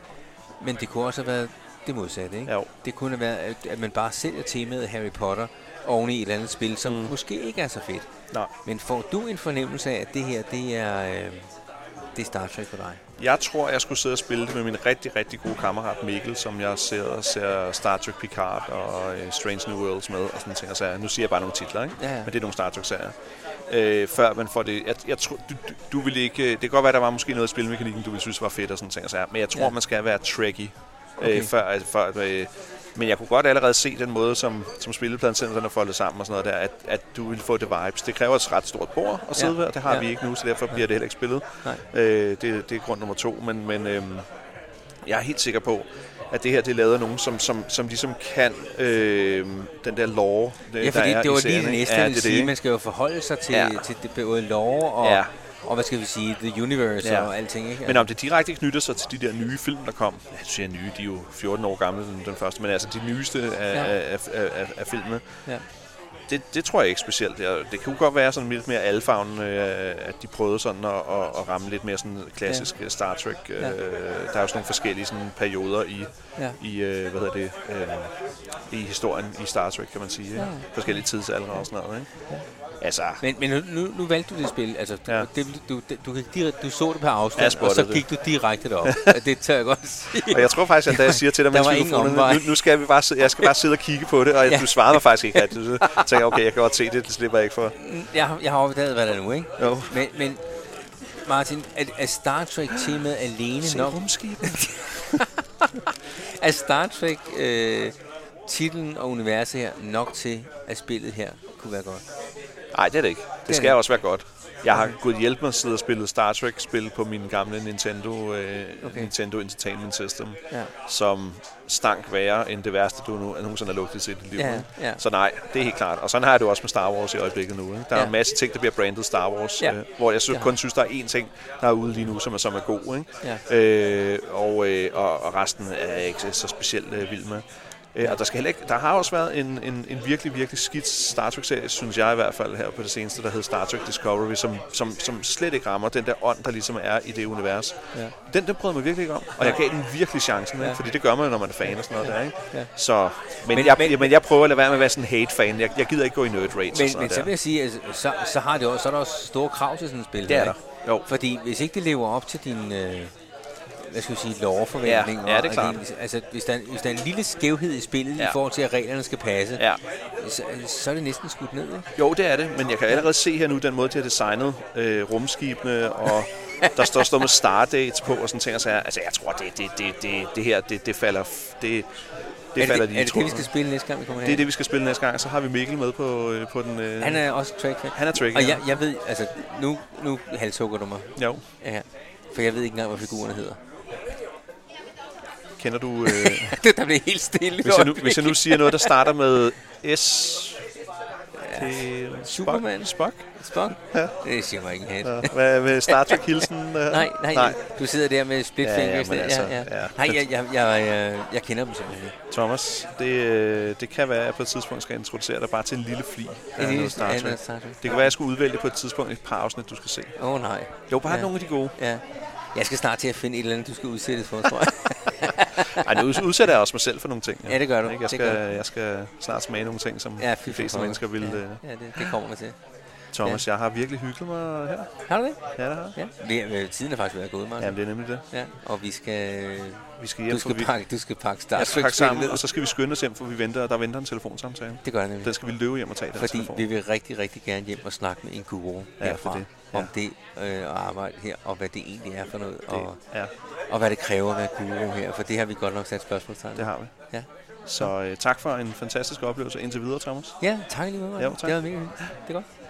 Speaker 1: Men det kunne også have været det modsatte, ikke?
Speaker 2: Jo.
Speaker 1: Det kunne have været, at, at man bare sælger temaet Harry Potter oven i et eller andet spil, som mm. måske ikke er så fedt.
Speaker 2: Nej.
Speaker 1: Men får du en fornemmelse af, at det her, det er, øh, det er Star Trek for dig?
Speaker 2: Jeg tror, jeg skulle sidde og spille det med min rigtig, rigtig gode kammerat Mikkel, som jeg ser, og ser Star Trek Picard og øh, Strange New Worlds med, og sådan ting. Så nu siger jeg bare nogle titler, ikke?
Speaker 1: Ja, ja.
Speaker 2: men det er nogle Star Trek-serier. Øh, før man får det... Jeg, jeg tror, du, du, du vil ikke... Det kan godt være, der var måske noget af spilmekanikken, du ville synes var fedt og sådan ting. og sager, Men jeg tror, ja.
Speaker 1: Ja.
Speaker 2: man skal være trekkie. Okay.
Speaker 1: Okay.
Speaker 2: Øh, før, altså, før, øh, men jeg kunne godt allerede se den måde, som, som spillepladen selv den er foldet sammen og sådan noget der, at, at du vil få det vibes. Det kræver et ret stort bord at sidde ja.
Speaker 1: Ja.
Speaker 2: ved, og det har ja.
Speaker 1: Ja.
Speaker 2: vi ikke nu, så derfor bliver det heller ikke spillet.
Speaker 1: Nej.
Speaker 2: Øh, det, det er grund nummer to, men, men øhm, jeg er helt sikker på, at det her det er lavet af nogen, som, som, som ligesom kan øh, den der lore, øh,
Speaker 1: Ja, fordi
Speaker 2: der er
Speaker 1: det
Speaker 2: i
Speaker 1: var lige
Speaker 2: serien,
Speaker 1: det
Speaker 2: ikke?
Speaker 1: næste,
Speaker 2: ja,
Speaker 1: jeg ville
Speaker 2: det, er
Speaker 1: sige.
Speaker 2: det,
Speaker 1: Man
Speaker 2: ikke?
Speaker 1: skal jo forholde sig til,
Speaker 2: Ja.
Speaker 1: ja. til det, både lov og,
Speaker 2: Ja.
Speaker 1: ja. og, hvad skal vi sige, the universe
Speaker 2: Ja.
Speaker 1: ja. og alting, ikke?
Speaker 2: Men om det direkte knytter sig til de der nye film, der kom. Ja, du siger nye, de er jo 14 år gamle, den, den første, men altså de nyeste af, ja.
Speaker 1: Ja.
Speaker 2: af, af, af, af filmene.
Speaker 1: Ja.
Speaker 2: Det, det tror jeg ikke specielt. Jeg- Det kunne godt være sådan lidt mere alfavn, øh, at de prøvede sådan at, at, at ramme lidt mere sådan klassisk ja. Star Trek. Øh,
Speaker 1: Ja.
Speaker 2: Der er jo sådan nogle forskellige sådan perioder i,
Speaker 1: Ja.
Speaker 2: i, øh, hvad hedder det, øh, i historien i Star Trek, kan man sige. Ikke?
Speaker 1: Ja.
Speaker 2: Forskellige tidsalder og sådan noget. Ikke? Altså,
Speaker 1: Men, men nu, nu, nu valgte du det spil. Altså,
Speaker 2: Ja.
Speaker 1: ja. det, du, det- du, gik direkte, du så det på afstand,
Speaker 2: Jeg
Speaker 1: og så
Speaker 2: spottede
Speaker 1: gik du direkte derop. det tør jeg godt sige.
Speaker 2: og jeg tror faktisk, at da jeg siger til dig,
Speaker 1: Der
Speaker 2: mens
Speaker 1: var
Speaker 2: vi
Speaker 1: ingen
Speaker 2: får
Speaker 1: omvej.
Speaker 2: nu, nu skal vi bare sidde, jeg skal bare sidde og kigge på det, og ja.
Speaker 1: Ja.
Speaker 2: du svarede mig faktisk ikke rigtigt. Så tænkte jeg, okay, jeg kan godt se det, det slipper jeg ikke for.
Speaker 1: Jeg, har- jeg har opdaget, hvad der er nu, ikke?
Speaker 2: Jo.
Speaker 1: Men, men Martin, er, er Star Trek-temaet alene
Speaker 2: Se
Speaker 1: nok?
Speaker 2: rumskibet.
Speaker 1: Er Star Trek øh, titlen og universet her nok til, at spillet her kunne være godt?
Speaker 2: Nej, det er det ikke. Det
Speaker 1: er
Speaker 2: skal
Speaker 1: det.
Speaker 2: også være godt. Jeg har gået hjælp med at sidde og spille Star Trek-spil på min gamle Nintendo, øh, okay.
Speaker 1: Okay.
Speaker 2: Nintendo Entertainment System,
Speaker 1: Ja.
Speaker 2: som stank værre end det værste, du nu, nogensinde har lugtet til i dit liv.
Speaker 1: Ja,
Speaker 2: ikke?
Speaker 1: ja.
Speaker 2: Så nej, det er helt klart. Og sådan har jeg det jo også med Star Wars i øjeblikket nu. Ikke? Der er
Speaker 1: Ja.
Speaker 2: en masse ting, der bliver brandet Star Wars,
Speaker 1: Ja.
Speaker 2: øh, hvor jeg synes,
Speaker 1: Ja.
Speaker 2: kun synes, der er én ting, der er ude lige nu, som er, som er god. Ikke?
Speaker 1: Ja.
Speaker 2: Øh, og, øh, og, og resten er jeg ikke så specielt øh, vild med. Øh, og der, skal heller ikke, der har også været en, en, en virkelig, virkelig skidt Star Trek-serie, synes jeg i hvert fald her på det seneste, der hed Star Trek Discovery, som, som, som slet ikke rammer den der ånd, der ligesom er i det univers.
Speaker 1: Ja.
Speaker 2: Den, den prøvede jeg mig virkelig ikke om, og jeg gav den virkelig chancen, ikke?
Speaker 1: Ja.
Speaker 2: fordi det gør man jo, når man er fan og sådan noget der. Ikke?
Speaker 1: Ja.
Speaker 2: Så, men, men,
Speaker 1: Men-
Speaker 2: jeg,
Speaker 1: men-
Speaker 2: men, men jeg prøver at lade være med at være sådan en hate-fan. Jeg, jeg gider ikke gå i nerd rage og
Speaker 1: Men,
Speaker 2: sådan
Speaker 1: men så vil
Speaker 2: noget
Speaker 1: jeg sige, altså, så, så, har det også, så er der også store krav til sådan et spil.
Speaker 2: Det er
Speaker 1: her,
Speaker 2: der.
Speaker 1: ikke?
Speaker 2: Jo.
Speaker 1: Fordi hvis ikke det lever op til din... Øh, hvad skal vi sige, lovforventninger.
Speaker 2: Ja, ja, det er
Speaker 1: og
Speaker 2: klart.
Speaker 1: din- altså, hvis, der, er- hvis der er en lille skævhed i spillet ja.
Speaker 2: Ja.
Speaker 1: i forhold til, at reglerne skal passe,
Speaker 2: Ja.
Speaker 1: så, så er det næsten skudt ned. Ikke?
Speaker 2: Jo, det er det, men jeg kan allerede se her nu den måde, de har designet øh, rumskibene, og der står stået med stardates på og sådan ting. Og så altså, jeg tror, det, det, det, det, det her, det, det falder, f- det, det
Speaker 1: er
Speaker 2: falder
Speaker 1: det, er det
Speaker 2: lige i
Speaker 1: det, vi
Speaker 2: tråden.
Speaker 1: skal spille næste gang, vi kommer
Speaker 2: det er
Speaker 1: her?
Speaker 2: det, vi skal spille næste gang. Så har vi Mikkel med på, øh, på den... Øh,
Speaker 1: Han er også track
Speaker 2: han er tricky,
Speaker 1: Og
Speaker 2: ja.
Speaker 1: jeg, jeg ved, altså, nu, nu halshugger du mig.
Speaker 2: Jo,
Speaker 1: Ja. For jeg ved ikke engang, hvad figurerne hedder.
Speaker 2: kender du... Øh,
Speaker 1: det der blev helt stille.
Speaker 2: Hvis jeg, nu, hvis jeg nu siger noget, der starter med S... Det,
Speaker 1: Superman?
Speaker 2: Spock?
Speaker 1: Spock? Ja. Det siger mig ikke en hat.
Speaker 2: Ja. Hvad med Star Trek-hilsen? øh?
Speaker 1: Nej, nej, nej, du sidder der med split
Speaker 2: Ja,
Speaker 1: ja,
Speaker 2: ja,
Speaker 1: fingers.
Speaker 2: men
Speaker 1: Ja,
Speaker 2: altså,
Speaker 1: ja, ja.
Speaker 2: ja.
Speaker 1: Nej, jeg, jeg, jeg, jeg, jeg kender dem simpelthen. ikke.
Speaker 2: Thomas, det, øh, det kan være, at jeg på et tidspunkt skal introducere dig bare til en lille fli af
Speaker 1: lille
Speaker 2: noget Star
Speaker 1: af
Speaker 2: Trek.
Speaker 1: noget Star Trek.
Speaker 2: Det kan være, at jeg skulle udvælge på et tidspunkt et par afsnit, du skal se.
Speaker 1: Åh oh, nej.
Speaker 2: Jo, bare
Speaker 1: Ja.
Speaker 2: ja. nogle af de gode.
Speaker 1: Ja. Jeg skal snart til at finde et eller andet, du skal udsættes for, tror jeg.
Speaker 2: Ej, nu udsætter jeg også mig selv for nogle ting.
Speaker 1: Ja, det gør du.
Speaker 2: Ikke?
Speaker 1: Det
Speaker 2: Jeg, skal,
Speaker 1: gør
Speaker 2: jeg skal snart smage nogle ting, som
Speaker 1: Ja,
Speaker 2: ja,
Speaker 1: fy
Speaker 2: de
Speaker 1: for
Speaker 2: fleste
Speaker 1: pokker.
Speaker 2: mennesker vil.
Speaker 1: Ja,
Speaker 2: Ja.
Speaker 1: ja det, det kommer vi til.
Speaker 2: Thomas, jeg har virkelig hygget mig her.
Speaker 1: Har du det?
Speaker 2: Ja, det har jeg.
Speaker 1: Ja. Det, er- øh, tiden er faktisk ved at gå ud, Martin.
Speaker 2: Jamen, det er nemlig det.
Speaker 1: Ja, og vi skal...
Speaker 2: Vi skal
Speaker 1: Du
Speaker 2: hjem, for
Speaker 1: skal,
Speaker 2: vi
Speaker 1: pakke, du skal pakke Star
Speaker 2: jeg skal pakke
Speaker 1: Trek
Speaker 2: sammen,
Speaker 1: sammen.
Speaker 2: og så skal vi skynde os hjem, for vi venter, og der venter en telefonsamtale.
Speaker 1: Det gør jeg nemlig.
Speaker 2: Den skal vi løbe hjem og tage, den
Speaker 1: Fordi
Speaker 2: telefon.
Speaker 1: vi vil rigtig, rigtig gerne hjem og snakke med en guru
Speaker 2: Ja,
Speaker 1: herfra.
Speaker 2: det er det. Ja.
Speaker 1: Om det øh, at arbejde her, og hvad det egentlig er for noget, og,
Speaker 2: Ja,
Speaker 1: og hvad det kræver at være guru her. For det har vi godt nok sat spørgsmålstegn.
Speaker 2: det har vi.
Speaker 1: Ja.
Speaker 2: Så øh, tak for en fantastisk oplevelse indtil videre, Thomas.
Speaker 1: Ja, tak lige meget.
Speaker 2: Jo, tak.
Speaker 1: Det var mega hyggeligt. Det er godt.